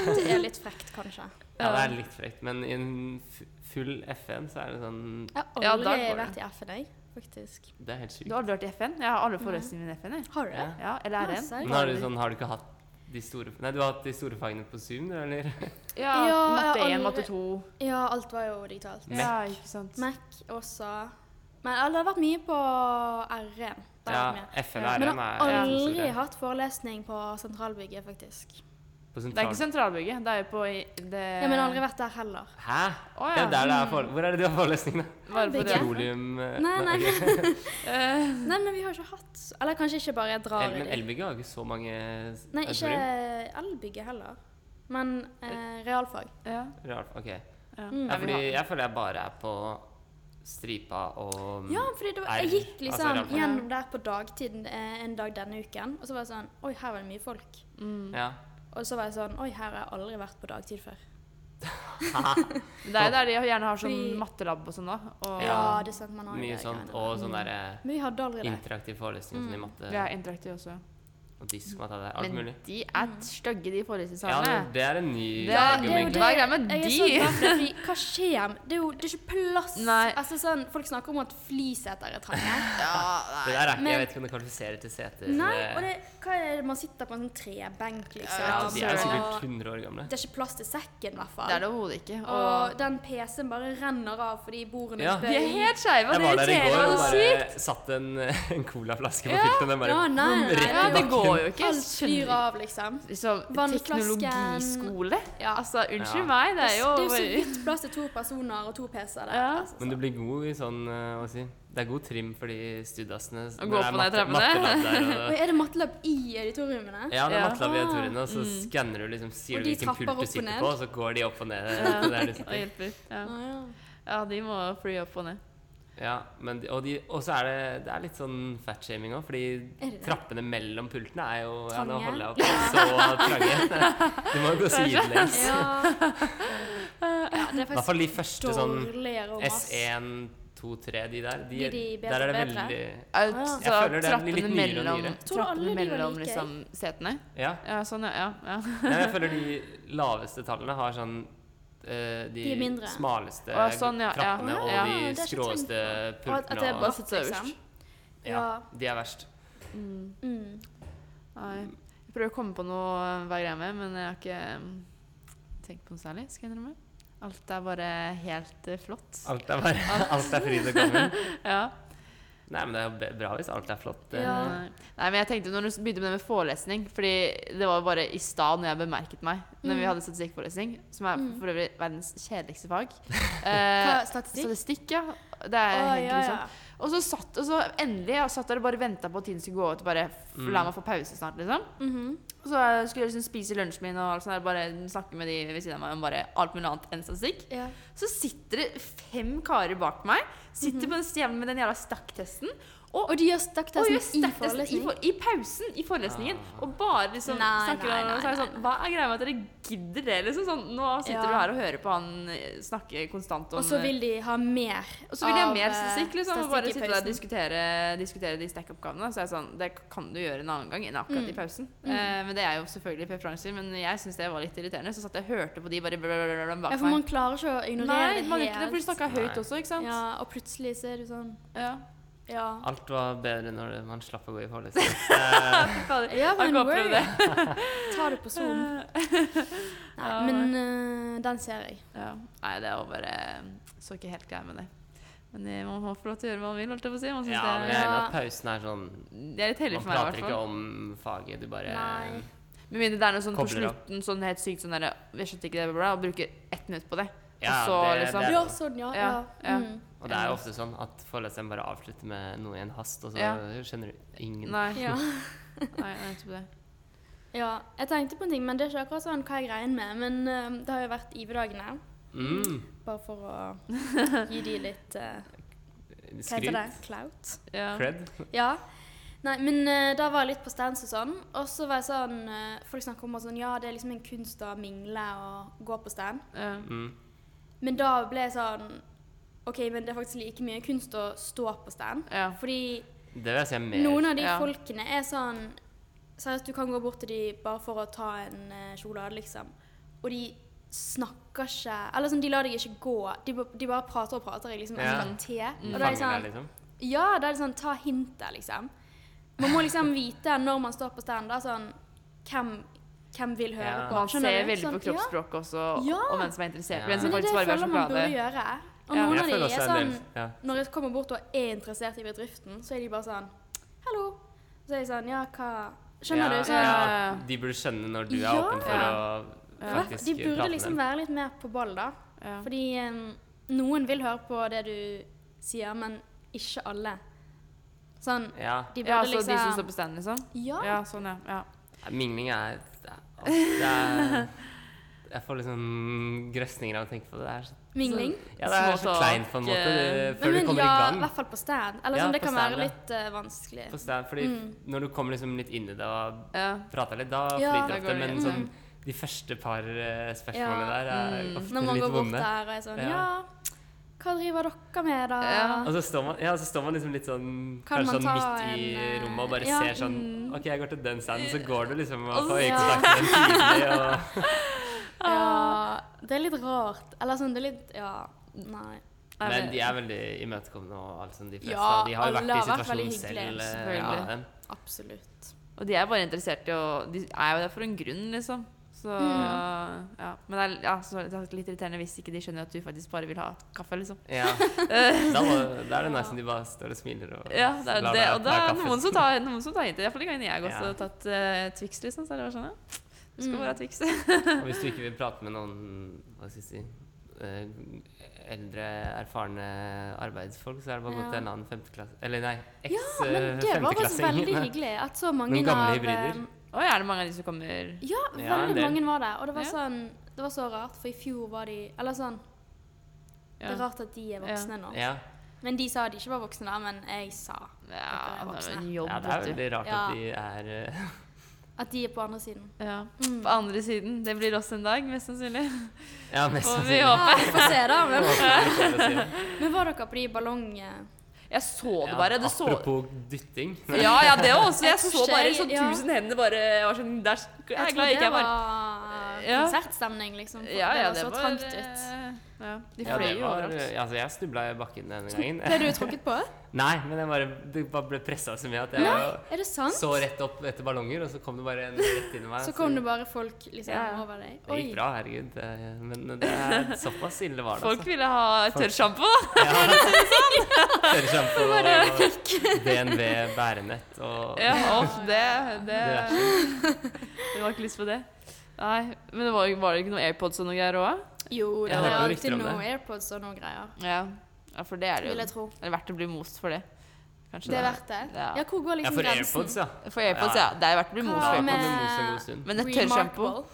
A: det er litt frekt, kanskje.
B: Ja, det er litt frekt, men i en f- full FN så er det sånn
A: Jeg har
C: Ja, da
A: aldri
C: går det.
A: vært i FN, jeg, faktisk.
B: Det er helt
C: Du
B: sykt.
C: har aldri vært i FN? Jeg har alle forelesningene mine i FN. Jeg.
A: Har du det?
B: Ja.
C: Ja, eller
A: Ja,
C: RN.
A: serr.
B: Men har du sånn, har du ikke hatt de store Nei, du har hatt de store fagene på Zoom, du, eller?
A: Ja,
C: Ja,
A: jeg
C: matte
A: har
C: 1, matte
A: aldri-
C: 2.
A: Ja, alt var jo digitalt.
B: Mac.
C: Ja, ikke sant.
A: Mac også. Men ja, det har vært mye på R1. da
B: Ja,
A: har jeg vært med.
B: FN
C: Ja.
B: og
A: Men
B: RM
A: jeg
B: er
A: har
B: sånn er to
A: aldri
B: store.
A: hatt forelesning på sentralbygget, faktisk.
B: Eh. På
C: Det er
B: sentral-
C: ikke sånn- sentralbygget. Det er jo på i- det
A: Ja, men jeg har aldri vært der heller.
B: Hæ?
C: Å,
B: Det
C: ja.
B: er der det er for... Hvor er det du har forelesning, da?
C: Bare på
A: Bygget.
C: det.
B: Petroleum eh,
A: Nei, nei.
B: ok.
C: Eh,
A: Nei, men vi har ikke hatt Eller kanskje ikke bare jeg drar
B: Mm. El,
A: i
B: men
A: det.
B: elbygget har ikke så mange s-
A: Nei, ikke eh,
B: auditorium.
A: elbygget heller. Men eh, realfag.
C: ja,
B: Rart, ok.
C: ja.
A: Mm.
B: Ja,
C: vi
B: fordi
C: har-
B: jeg føler jeg bare er på Stripa og mm,
A: Ja, fordi det var,
B: R,
A: jeg gikk
B: altså
A: liksom
B: realfag.
A: gjennom der på dagtiden eh, en dag denne uken, og så var det sånn Oi, her var det mye folk.
B: Ja.
A: Og så var jeg sånn Oi, her har jeg aldri vært på dagtid før.
C: Men Det er jo der de gjerne har sånn
A: Fordi-
C: mattelab og sånn, da. Og
A: Ja,
B: Ja,
A: det er sant man har jo
B: Mye
A: det Mm.
B: sånt.
A: greiene.
B: Og sånn derre
A: Men vi hadde aldri det.
B: interaktiv forelesning og sånn i matte.
C: vi er interaktive også.
B: Og diskmat er der. Alt
C: Men
B: mulig.
C: de er
A: Mm.
C: stygge, de
B: Ja,
C: forelesningssalene.
B: det- det er en ny
C: Det er-
A: Sånn, Det er jo
B: argument.
A: det.
C: Hva er greia med
A: jeg er
C: de?
A: så glad for det, fordi hva skjer? Det er jo det er ikke plass.
C: Nei.
A: Altså sånn, Folk snakker om at flyseter er trange.
B: Det der er ikke,
A: Men-
B: jeg vet ikke om det kvalifiserer til seter.
A: Nei, og det, hva er det man sitter på en sånn trebenk, liksom?
B: eh, ja, de er
C: altså,
B: sikkert
A: Og
B: 100 år gamle.
A: det er ikke plass til sekken, i hvert
C: Det er
A: fall.
C: det overhodet ikke.
A: Og
C: Og
A: den PC-en bare renner av fordi bordene
B: Ja.
C: de
A: bøyer.
C: er helt skeive, og
B: Jeg var
C: det
B: der i
C: irriterer
B: går
C: meg
B: og
C: så sykt.
B: bare satt en, en colaflaske på filten. og Den bare
A: Ja, nei, nei,
B: rett i
C: Ja, det
B: bakken.
C: går jo ikke.
A: Alt flyr
C: Skjønner
A: av, liksom.
C: Liksom,
A: Vannflasken.
C: teknologiskole?
A: Ja.
C: Altså, unnskyld
B: Ja.
C: meg, det er jo
A: Det er jo så vidt plass til to personer og to PC-er der.
C: Ja.
A: Altså,
B: Men du
A: så.
B: blir god i sånn eh, hva si, Det er god trim for de studiassene.
C: Å
B: når
C: gå
B: det er
C: opp og
B: matte-
C: ned trappene.
B: mattelab
A: Og
B: der, og-
A: er det mattelab i auditoriumene?
B: Ja, det er
C: Ja.
B: mattelab i auditoriene, og så skanner du liksom, sier
A: Og
B: du
A: de
B: hvilken
A: trapper
B: pult
A: opp
B: du
A: og
B: sitter
A: ned.
B: på, og så går de opp og ned.
C: Ja.
B: Det er liksom-
C: Og hjelper. Ja.
A: Å, ja.
C: ja, de må fly opp og ned.
B: Ja, men, de- og, de, og så er det, det er litt sånn fatshaming òg,
A: Er
B: fordi
A: det det?
B: trappene mellom pultene er jo ja, Nå
A: Trange.
B: holder jeg opp så trange. Du må jo gå sidelengs.
A: Ja. ja, det er
B: I hvert
A: faktisk
B: fall de første sånn
A: dårligere og masse.
B: S1, 2, 3, de der. De,
A: Blir de bedre
B: der er det
A: og bedre?
B: veldig
C: Alt,
A: ja.
C: så
B: Jeg føler det er
C: trappene
B: litt nyere og
C: mellom,
B: nyere.
A: Tror alle
C: trappene
A: de var
C: mellom
A: like,
C: liksom, setene.
B: Ja.
C: Ja, sånn, ja. ja, ja.
B: Nei, jeg føler de laveste tallene har sånn eh, de,
A: De er mindre.
B: smaleste
C: Å, sånn, ja, ja.
B: trappene
C: Å,
B: og
C: ja.
A: Det er
B: de
A: ikke
B: skråeste
A: tenkt
B: pultene.
A: Og at- at det er
B: og-
A: bare
C: Bare sitte øverst.
A: liksom.
B: ja, de er verst.
A: Mm.
C: Nei. Jeg prøver å komme på noe eh, hva greia med, men jeg har ikke eh, tenkt på noe særlig. Skal jeg innrømme. Alt er bare helt eh, flott.
B: Alt er bare Alt er fryd og gammen.
C: Ja.
B: Nei, men det er jo be- bra hvis alt er flott. Det,
A: Ja.
C: Nei, men jeg tenkte når du begynte med det med forelesning Fordi det var bare i stad når jeg bemerket meg
A: Mm.
C: Når vi hadde statistikkforelesning Som er for øvrig verdens kjedeligste fag
A: Hva,
C: eh,
A: statistikk?
C: Statistikk, ja Det er
A: Å,
C: helt
A: ja, ja.
C: grusomt Og så satt, og så endelig jeg satt der og bare ventet på at tiden skulle gå ut Og bare f- la meg få pause snart liksom
A: Mm-hmm.
C: Og så eh, skulle jeg liksom spise lunsjen min Og alt sånt der, bare snakke med de ved siden av meg Om bare alt mulig annet enn statistikk
A: Ja.
C: så sitter det fem karer bak meg Sitter
A: Mm-hmm.
C: på den stjevnen med den jævla stakktesten
A: Og de gjør
C: og gjør
A: stakktesten sånn i
C: sterkest sånn- i,
A: forelesning.
C: for, i pausen i forelesningen. Og bare liksom
A: Nei,
C: snakker
A: nei,
C: om
A: nei,
C: så er det
A: nei,
C: sånn, Hva er greia med at dere gidder det? Liksom, sånn, nå sitter
A: Ja.
C: du her og hører på han eh, snakke konstant
A: liksom.
C: om
A: Og så vil de ha mer.
C: og så vil jeg ha
A: av,
C: mer
A: eh,
C: statistikk. Liksom, og bare
A: statistikk i
C: sitte der og
A: pausen.
C: diskutere, diskutere de stack-oppgavene. Så er jeg sånn, Det kan du gjøre en annen gang enn
A: Mm.
C: akkurat i pausen. Eh, men det er jo selvfølgelig preferanser. Men jeg syns det var litt irriterende. Så satt jeg og hørte på de bare blablabla bak
A: Ja, for man
C: meg.
A: klarer ikke å
C: Nei,
A: ignorere det
C: man gjør ikke det, for de
A: helt.
C: snakka
B: Nei.
C: høyt også, ikke sant?
A: Ja, og plutselig så er du sånn
C: Ja.
A: Ja.
B: Alt var bedre når det- man slapp å gå i forelesning.
C: Fy fader.
A: Ja,
C: Har
A: men
C: ikke
A: word.
C: opplevd det.
A: Ta det på Zoom. Nei,
C: Ja,
A: men eh, den ser jeg.
C: Ja. Nei, det er jo bare Så ikke helt grei med det. Men det- man må få lov til å gjøre hva man vil, holdt jeg på å si. Man synes
B: Ja, men
C: det,
B: jeg
C: er,
B: mener
A: Ja.
B: at pausen er sånn
C: det er litt hellig
B: Man
C: for meg, i
B: prater
C: hvert
B: ikke
C: fall.
B: om faget, du bare
A: Nei.
C: Med mindre det er noe sånn på
B: Kobler av.
C: slutten, sånn helt sykt sånn derre Jeg skjønte ikke det, bla, bla, og bruker ett minutt på det.
B: Ja,
C: og så
B: det-
C: liksom
B: det-
A: Ja, sånn, ja. ja.
C: Ja, ja.
A: Mm.
B: Og det er jo ofte sånn at foreleseren bare avslutter med noe i en hast, og så
C: Ja.
B: skjønner du ingen
C: Nei,
A: ja.
C: nei, nei jeg tror det.
A: ja. Jeg tenkte på en ting, men det er ikke akkurat sånn hva jeg regner med. Men eh, det har jo vært IV-dagene.
B: mm.
A: Bare for å gi de litt eh, Hva heter det?
B: Skryt?
A: Clout?
C: Ja.
B: Cred?
A: Ja. Nei, men eh, da var jeg litt på stands og sånn. Og så var jeg sånn eh, Folk snakker om at sånn, ja, det er liksom en kunst å mingle og gå på stand.
C: Ja.
B: Mm.
A: Men da ble jeg sånn OK, men det er faktisk like mye kunst å stå på stand.
C: ja.
A: Fordi
B: Det vil jeg si er mer
A: noen av de
C: ja.
A: folkene er sånn Seriøst, du kan gå bort til de bare for å ta en eh, kjole av, liksom. Og de snakker ikke Eller sånn, de lar deg ikke gå. De, ba- de bare prater og prater. Jeg liksom
B: Ja.
A: ja. te.
B: de
A: Og da er jeg
B: fanger
A: sånn
B: deg, liksom.
A: Ja, da er det sånn Ta hintet, liksom. Man må liksom vite når man står på stand, da sånn Hvem, hvem vil høre
B: Ja.
A: på?
C: Man
A: Skjønner
C: ser
A: du?
C: veldig på
A: Sånn, ja.
C: kroppsspråket også, og-
A: Ja.
C: og hvem som er interessert.
B: Ja.
C: Hvem som
A: Men det er det jeg
C: faktisk bare
A: føler
C: vil ha
A: man burde
C: sjokolade.
A: gjøre. Og
C: Ja.
A: noen
B: Jeg
A: av de
B: føler
A: er
B: også en
A: sånn
B: del ja.
A: Når jeg kommer bort og er interessert i bedriften, så er de bare sånn Hallo. Så er de sånn Ja, hva Skjønner
B: ja,
A: du? Sånn,
C: ja.
B: at De burde skjønne når du er
A: Ja.
B: åpen for å
A: Hva?
B: faktisk
A: De burde
B: prate
A: liksom
B: med dem.
A: være litt mer på ball, da.
C: Ja.
A: Fordi eh, noen vil høre på det du sier, men ikke alle. Sånn
B: Ja.
A: De burde
C: Ja, så
A: liksom
C: de som står på stand, liksom?
A: Ja.
C: Ja, sånn, ja. ja.
B: Mingling er det er- altså, det er, Jeg får liksom grøsninger av å tenke på det. Det er så,
A: Mingling.
B: ja, det er så
C: Smalltalk,
B: kleint på en måte det,
A: eh, Men-
B: før
A: men
B: du kommer
A: ja,
B: i
A: i
B: gang.
A: hvert fall på stand. Eller
B: Ja,
A: sånn, det
B: på
A: kan
B: stand,
A: være
B: ja.
A: litt eh, vanskelig.
B: På stand, fordi Når du kommer liksom litt inn i det og
C: ja.
B: prater litt, da
A: Mm. Ja.
B: flyter
C: Da
B: det ofte.
C: går det
B: Men
C: greit.
B: sånn, de første par eh, spørsmålene
A: Mm. Ja.
B: der er
C: Mm.
B: ofte
A: Når man
B: litt
A: går bort
B: vonde.
A: der og er sånn
B: Ja.
A: Ja, hva driver dere med, da?
C: Ja.
B: Og så står man, ja, så står man liksom litt sånn
A: Kan
B: kanskje
A: man
B: sånn
A: ta
B: midt i
A: en, eh,
B: rommet og bare
A: ja, mm.
B: ser sånn OK, jeg går til den standen, så går du liksom og
C: Og
B: får
A: så-
B: øyekontakt med den tidlig. Og,
A: Ja, det er litt rart. Eller sånn, det er litt Ja, nei.
C: Nei,
B: men de er veldig imøtekommende og alt sånn, de fleste.
A: Ja,
B: de har jo
A: alle
B: vært i
A: har vært veldig
B: situasjonen
A: hyggelige,
B: selv. eh,
C: selvfølgelig.
B: Ja, dem.
A: Absolutt.
C: Og de er bare interessert i å De er jo der for en grunn, liksom. Så ja. Men det er, ja, så, det er litt irriterende hvis ikke de skjønner at du faktisk bare vil ha kaffe, liksom.
B: ja. da, må, da er det nice om de bare står og smiler og
C: Ja, det er
B: lar
C: det.
B: deg
C: Og
B: ta
C: det er
B: kaffen.
C: noen som tar, noen som tar hint. Iallfall de gangene jeg også
B: Ja.
C: har tatt eh, Twix, liksom. Så er det bare sånn, ja. Du skal bare ha Twix.
B: Og hvis du ikke vil prate med noen hva skal jeg si, eh, eldre, erfarne arbeidsfolk, så er det bare å gå
A: Ja.
B: til en annen femteklasse Eller nei,
A: Ja, men det var faktisk
B: eks-femteklassing.
A: veldig hyggelig at så mange
B: Noen gamle
A: av
B: hybrider.
A: eh,
C: Oi, er det mange av de som kommer
A: Ja,
B: Ja, en
A: veldig
B: del.
A: mange var der. Og det var
C: Ja.
A: sånn Det var så rart, for i fjor var de Eller sånn Det
C: Ja.
A: er rart at de er voksne nå.
B: Ja.
A: Men de sa de ikke var voksne da, men jeg sa
C: Ja, det er jo en jobb,
B: ja, det er
C: vet du.
B: veldig rart
A: Ja.
B: at de er eh,
A: at de er på andre siden.
C: Ja. Mm. På andre siden. Det blir oss en dag, mest sannsynlig.
B: Ja, mest
C: Og vi
B: sannsynlig.
C: håper
A: Vi får se, da. Men,
B: Håper vi får se det.
A: men var dere på de eh? ballongene?
C: Jeg så
B: Ja,
C: det bare. Det så
B: Apropos dytting.
C: Ja, ja, det også. Jeg
A: tror ikke
C: så bare
A: jeg-
C: sånn
A: ja.
C: tusen hender bare jeg var sånn der, Jeg er glad jeg ikke er varm.
A: var og
C: Ja.
A: konsertstemning, liksom. For
C: Ja, ja,
A: det var så trangt ut.
C: eh, Ja, de
B: Ja,
C: fløy
B: det
C: jo
B: var,
C: overalt.
B: altså, jeg snubla i bakken den gangen.
A: Ble du tråkket på?
B: Nei, men jeg bare, det bare ble pressa så mye at jeg
A: Nei, er det sant?
B: så rett opp etter ballonger, og så kom det bare en rett inn i meg.
A: Så kom det bare folk liksom
C: Ja, ja.
A: over deg.
B: Det gikk bra, herregud. Det- Men det er såpass ille var det. altså.
C: Folk ville ha
B: Folk-
C: tørrsjampo.
B: altså. Tørrsjampo og DNV bærenett og
C: Ja, off, det, det
B: diverse.
C: Vi har ikke lyst på det. Nei, Men det var, var det ikke noen AirPods og noe greier òg?
A: Jo, det
B: Jeg
A: er
B: hørte
A: alltid
B: rykter om
A: noen
B: det.
A: AirPods og noen greier.
C: Ja. ja, for det er det jo.
A: Vil jeg tro.
C: Er det verdt å bli most for det? Kanskje
A: Det er verdt det.
C: Ja.
A: Ja, hvor går
B: Ja,
A: liksom
B: for
A: grensen?
B: AirPods, ja.
C: For AirPods, ja. Det er verdt å bli
B: Da
C: most
A: Hva
C: for
B: kan du
A: med-
C: AirPods.
B: mose en god stund.
C: Men et tørrsjampo,
A: Remarkable.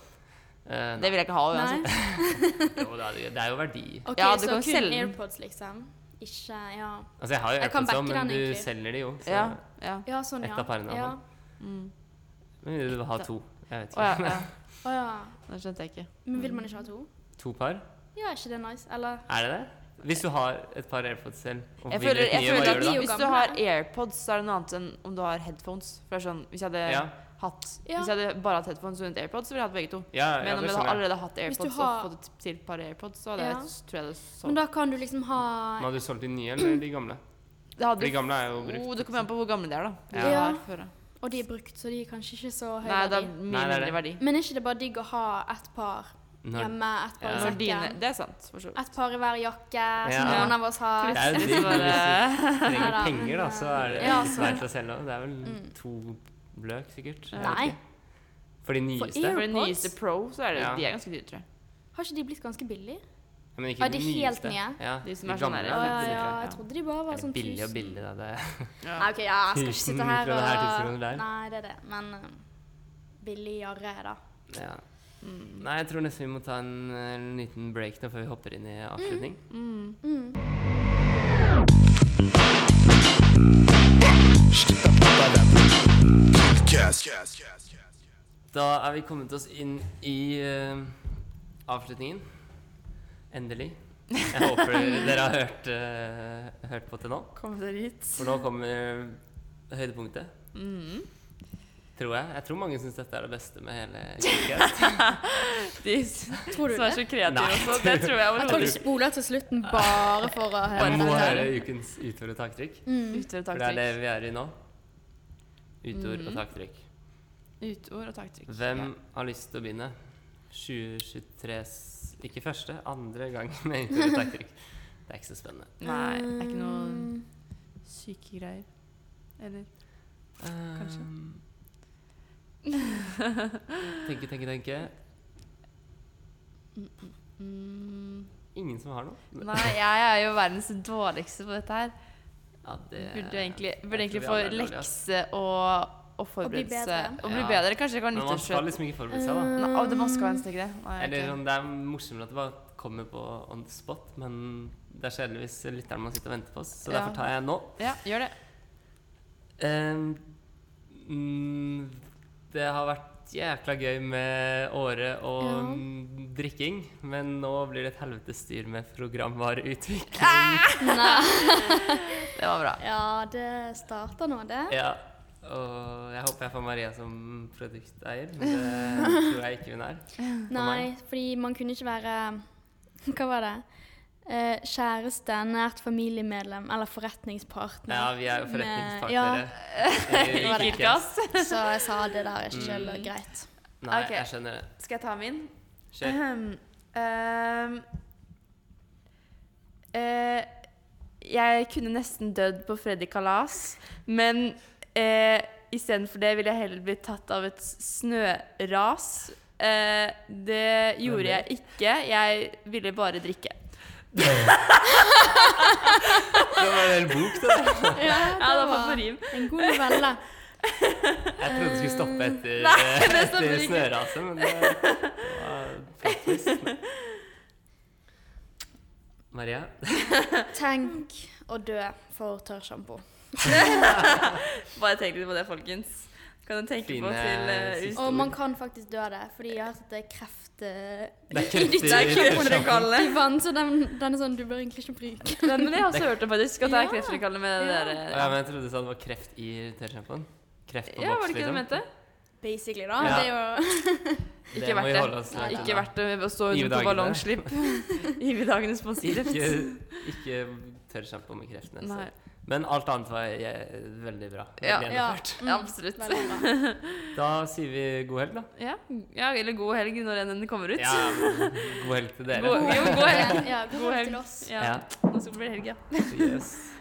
B: Eh,
C: det vil jeg ikke ha
A: Nei?
C: uansett.
B: jo, det er- det er jo verdi.
A: Ok,
C: Ja, du
A: så
C: kan
A: kun
C: selge den.
A: AirPods, liksom. Ikke Ja,
B: Altså, jeg har jo
A: Jeg kan
B: AirPods også,
A: backe den,
B: men du
A: egentlig.
B: selger de jo. Så.
C: Ja, ja.
A: ja sånn, ja.
B: Et av parene,
A: ja.
B: altså. Men vil du ha to? Jeg vet
C: Å ja,
B: ikke.
C: ja.
A: Å ja.
C: Det skjønte jeg ikke.
A: Men vil man ikke ha to?
B: To par?
A: Ja, er ikke det nice? Eller
B: Er det det? Hvis du har et par AirPods selv og
C: Jeg
B: vil
C: føler,
B: litt
C: jeg
B: nye, hva
C: føler
B: gjør
C: at
B: du da?
A: de-
C: Hvis du har AirPods, så er det noe annet enn om du har headphones. For det er sånn, Hvis jeg hadde,
B: Ja.
C: hatt,
A: Ja.
C: hvis jeg hadde bare hatt headphones og rundt AirPods, så ville jeg hatt begge to.
B: Ja, ja,
C: Men
B: det
C: om jeg hadde
B: skjønner jeg.
C: allerede hatt
A: Hvis du
C: AirPods
A: har-
C: og fått et til et par AirPods, så hadde
A: Ja.
C: jeg, tror jeg det
B: Sånn.
C: så
A: Men da kan du liksom ha
B: Men har du solgt de nye
C: Mm.
B: eller de gamle?
C: det
B: For de
C: hadde,
B: gamle er jo brukt.
C: oh, Det kommer an på hvor gamle de er, da. De
A: Ja.
C: er
A: Ja.
C: her før, da.
A: Og de er brukt, så de er kanskje ikke så høy
C: Nei, det er
A: verdi.
C: mye
B: Nei, det er
C: mindre verdi.
A: Men er ikke det bare digg å ha ett par
B: Når,
A: hjemme, ett par
B: Ja.
A: i
C: Når dine,
A: sekken?
C: det er sant. For så vidt.
A: Ett par i hver jakke,
B: Ja.
A: som noen av oss har.
B: det er jo
C: Hvis
B: digg,
C: du
B: men hvis
C: bare-
B: du trenger
A: Neida,
B: penger, da,
A: men,
B: så er det
A: ja, altså.
B: ikke
A: så-
B: verdt å selge. Det er vel to bløk, sikkert. Jeg vet
A: Nei.
B: ikke. For de nyeste.
A: EU-
C: For de nyeste
A: AirPods?
C: Pro, så er det,
B: Ja.
C: de er ganske dyre, tror jeg.
A: Har ikke de blitt ganske billige?
B: Ja, Men ikke
A: Er de
B: de
A: helt
B: nyeste.
A: nye?
B: Ja,
C: De som
B: de
C: er sånn
B: gamle
A: Å
C: der,
A: ja,
B: faktisk
A: ja,
B: ikke.
A: jeg trodde de bare var
B: Eller
A: sånn
B: billig og
A: 1000.
B: billig, da. Det er
A: Nei, ok, ja, jeg skal ikke sitte her
B: 1000 kroner her,
A: og
B: 1000 kroner der.
A: Nei, det er det. Men eh, billigere, da.
B: Ja. Nei, jeg tror nesten vi må ta en, en liten break nå før vi hopper inn i avslutning.
A: Mm.
B: Da er vi kommet oss inn i eh, avslutningen. Endelig. Jeg håper dere har hørt, eh, hørt på til nå.
C: Kom dere hit.
B: For nå kommer eh, høydepunktet.
A: Mm.
B: Tror jeg. Jeg tror mange syns dette er det beste med hele Kikast.
C: De som
A: Tror du
C: er
A: det?
C: så kreative
B: Nei.
C: også.
A: Jeg
C: Det tror jeg
A: tror du
C: overhodet ikke.
A: spoler til slutten bare for å høre
B: Jeg må
A: dette.
B: høre ukens utord og taktrykk.
A: Mm.
C: Utord og
B: For det er det
C: taktrykk.
B: vi er i nå. Utord
A: Mm.
B: og taktrykk.
C: Utord og taktrykk.
B: Hvem har lyst til å begynne? 2023 s- Ikke første, andre gang med utord og taktrykk. Det er ikke så spennende.
C: Ja. Nei, det er ikke noe syke greier. Eller Kanskje.
B: Um, Ehm, tenke, tenke, tenke.
C: mm,
B: Ingen som har noe?
C: Nei, jeg er jo verdens dårligste på dette her.
B: Ja, det-
C: Burde egentlig,
B: Eh, tror
C: burde egentlig
B: vi
C: få
B: alle er dårlige, ass.
C: lekse og, og forberedelse.
A: bedre.
C: Og bli
B: Ja.
C: bedre. Kanskje jeg kan
B: Men man skal
C: nyttårsskjørt.
B: liksom ikke forberede seg, da.
C: Nei, å, det man skal helst ikke det. Mm, Nei, ok.
B: Eller sånn, Det er morsommere at det bare kommer på on the spot, men det er sjeldenvis lytteren man sitter og venter på oss, så
C: Ja.
B: derfor tar jeg nå.
C: Ja, gjør det.
B: Ehm, mm, det har vært jækla gøy med året og
A: Ja.
B: mm, drikking, men nå blir det et helvetes styr med programvareutvikling.
A: Nei.
C: Det var bra.
A: Ja, det starter nå, det.
B: Ja. Og jeg håper jeg får Maria som produkteier, men det tror jeg ikke hun er.
A: Nei, fordi man kunne ikke være Hva var det? Eh, kjæreste, nært familiemedlem eller forretningspartner.
B: Ja, vi er jo
A: Med-
B: forretningspartnere.
C: Det var
B: I
C: litt
B: Kirkas.
C: gass.
A: Ja, så jeg sa det der er
B: Mm.
A: ikke selv og greit.
B: Nei,
C: Ok.
B: jeg skjønner det.
C: Skal jeg ta min?
B: Kjør.
C: Ehm, eh, jeg kunne nesten dødd på Freddy Kalas, men uh, istedenfor det ville jeg heller blitt tatt av et snøras. Eh, det gjorde jeg ikke. Jeg ville bare drikke.
B: Det var en hel bok, det der.
A: Ja,
C: Ja, det var på rim.
A: en god novelle.
B: Jeg trodde du skulle stoppe etter,
C: Eh,
B: eh,
C: Nei, det
B: etter
C: stopper ikke.
B: snøraset, men eh, det var flott twist. Maria,
A: Tenk å dø for tørrsjampo.
C: Bare tenk litt på det, folkens. Kan du tenke
B: Fine
C: på til eh,
B: siste
C: ut-
A: Og man kan faktisk dø av det, fordi jeg har hørt at det er kreft eh,
B: det er
A: i ditt
B: krefter
C: Det er
B: i tørrsjampo.
C: kreftfrekallene.
A: i vann, så den, den er sånn du bør egentlig ikke bruke.
C: Men men jeg har også hørt det faktisk, at det er kreftfrekallende med det
A: Ja.
C: der. eh,
B: Ja, men jeg trodde du sa det var kreft i tørrsjampoen. Kreft på
C: Ja, var
B: boks,
C: det ikke det du
B: liksom.
C: mente?
A: basically, da.
B: Ja.
A: Det er jo
B: Det
C: Ikke
B: må vi
C: verdt
B: holde
C: det.
B: oss langt
C: Ikke
B: unna.
C: verdt det å stå rundt på
B: Iverdagene.
C: ballongslipp. Iverdagenes sponsorer.
B: Ikke, ikke tør kjempe om i kreftene.
C: Nei.
B: Så. Men alt annet var eh, veldig bra.
C: Ja.
B: Veldig
A: Ja. Mm.
B: gjennomført.
C: Ja, absolutt.
A: Veldig bra.
B: Da sier vi god helg, da.
C: Ja. ja, eller god helg når enn den kommer ut.
B: Ja, god helg til dere.
C: God- Jo, god helg.
A: Ja, god helg til oss.
C: Ja.
B: Ja.
C: Nå skal det bli helg, ja.
B: Yes.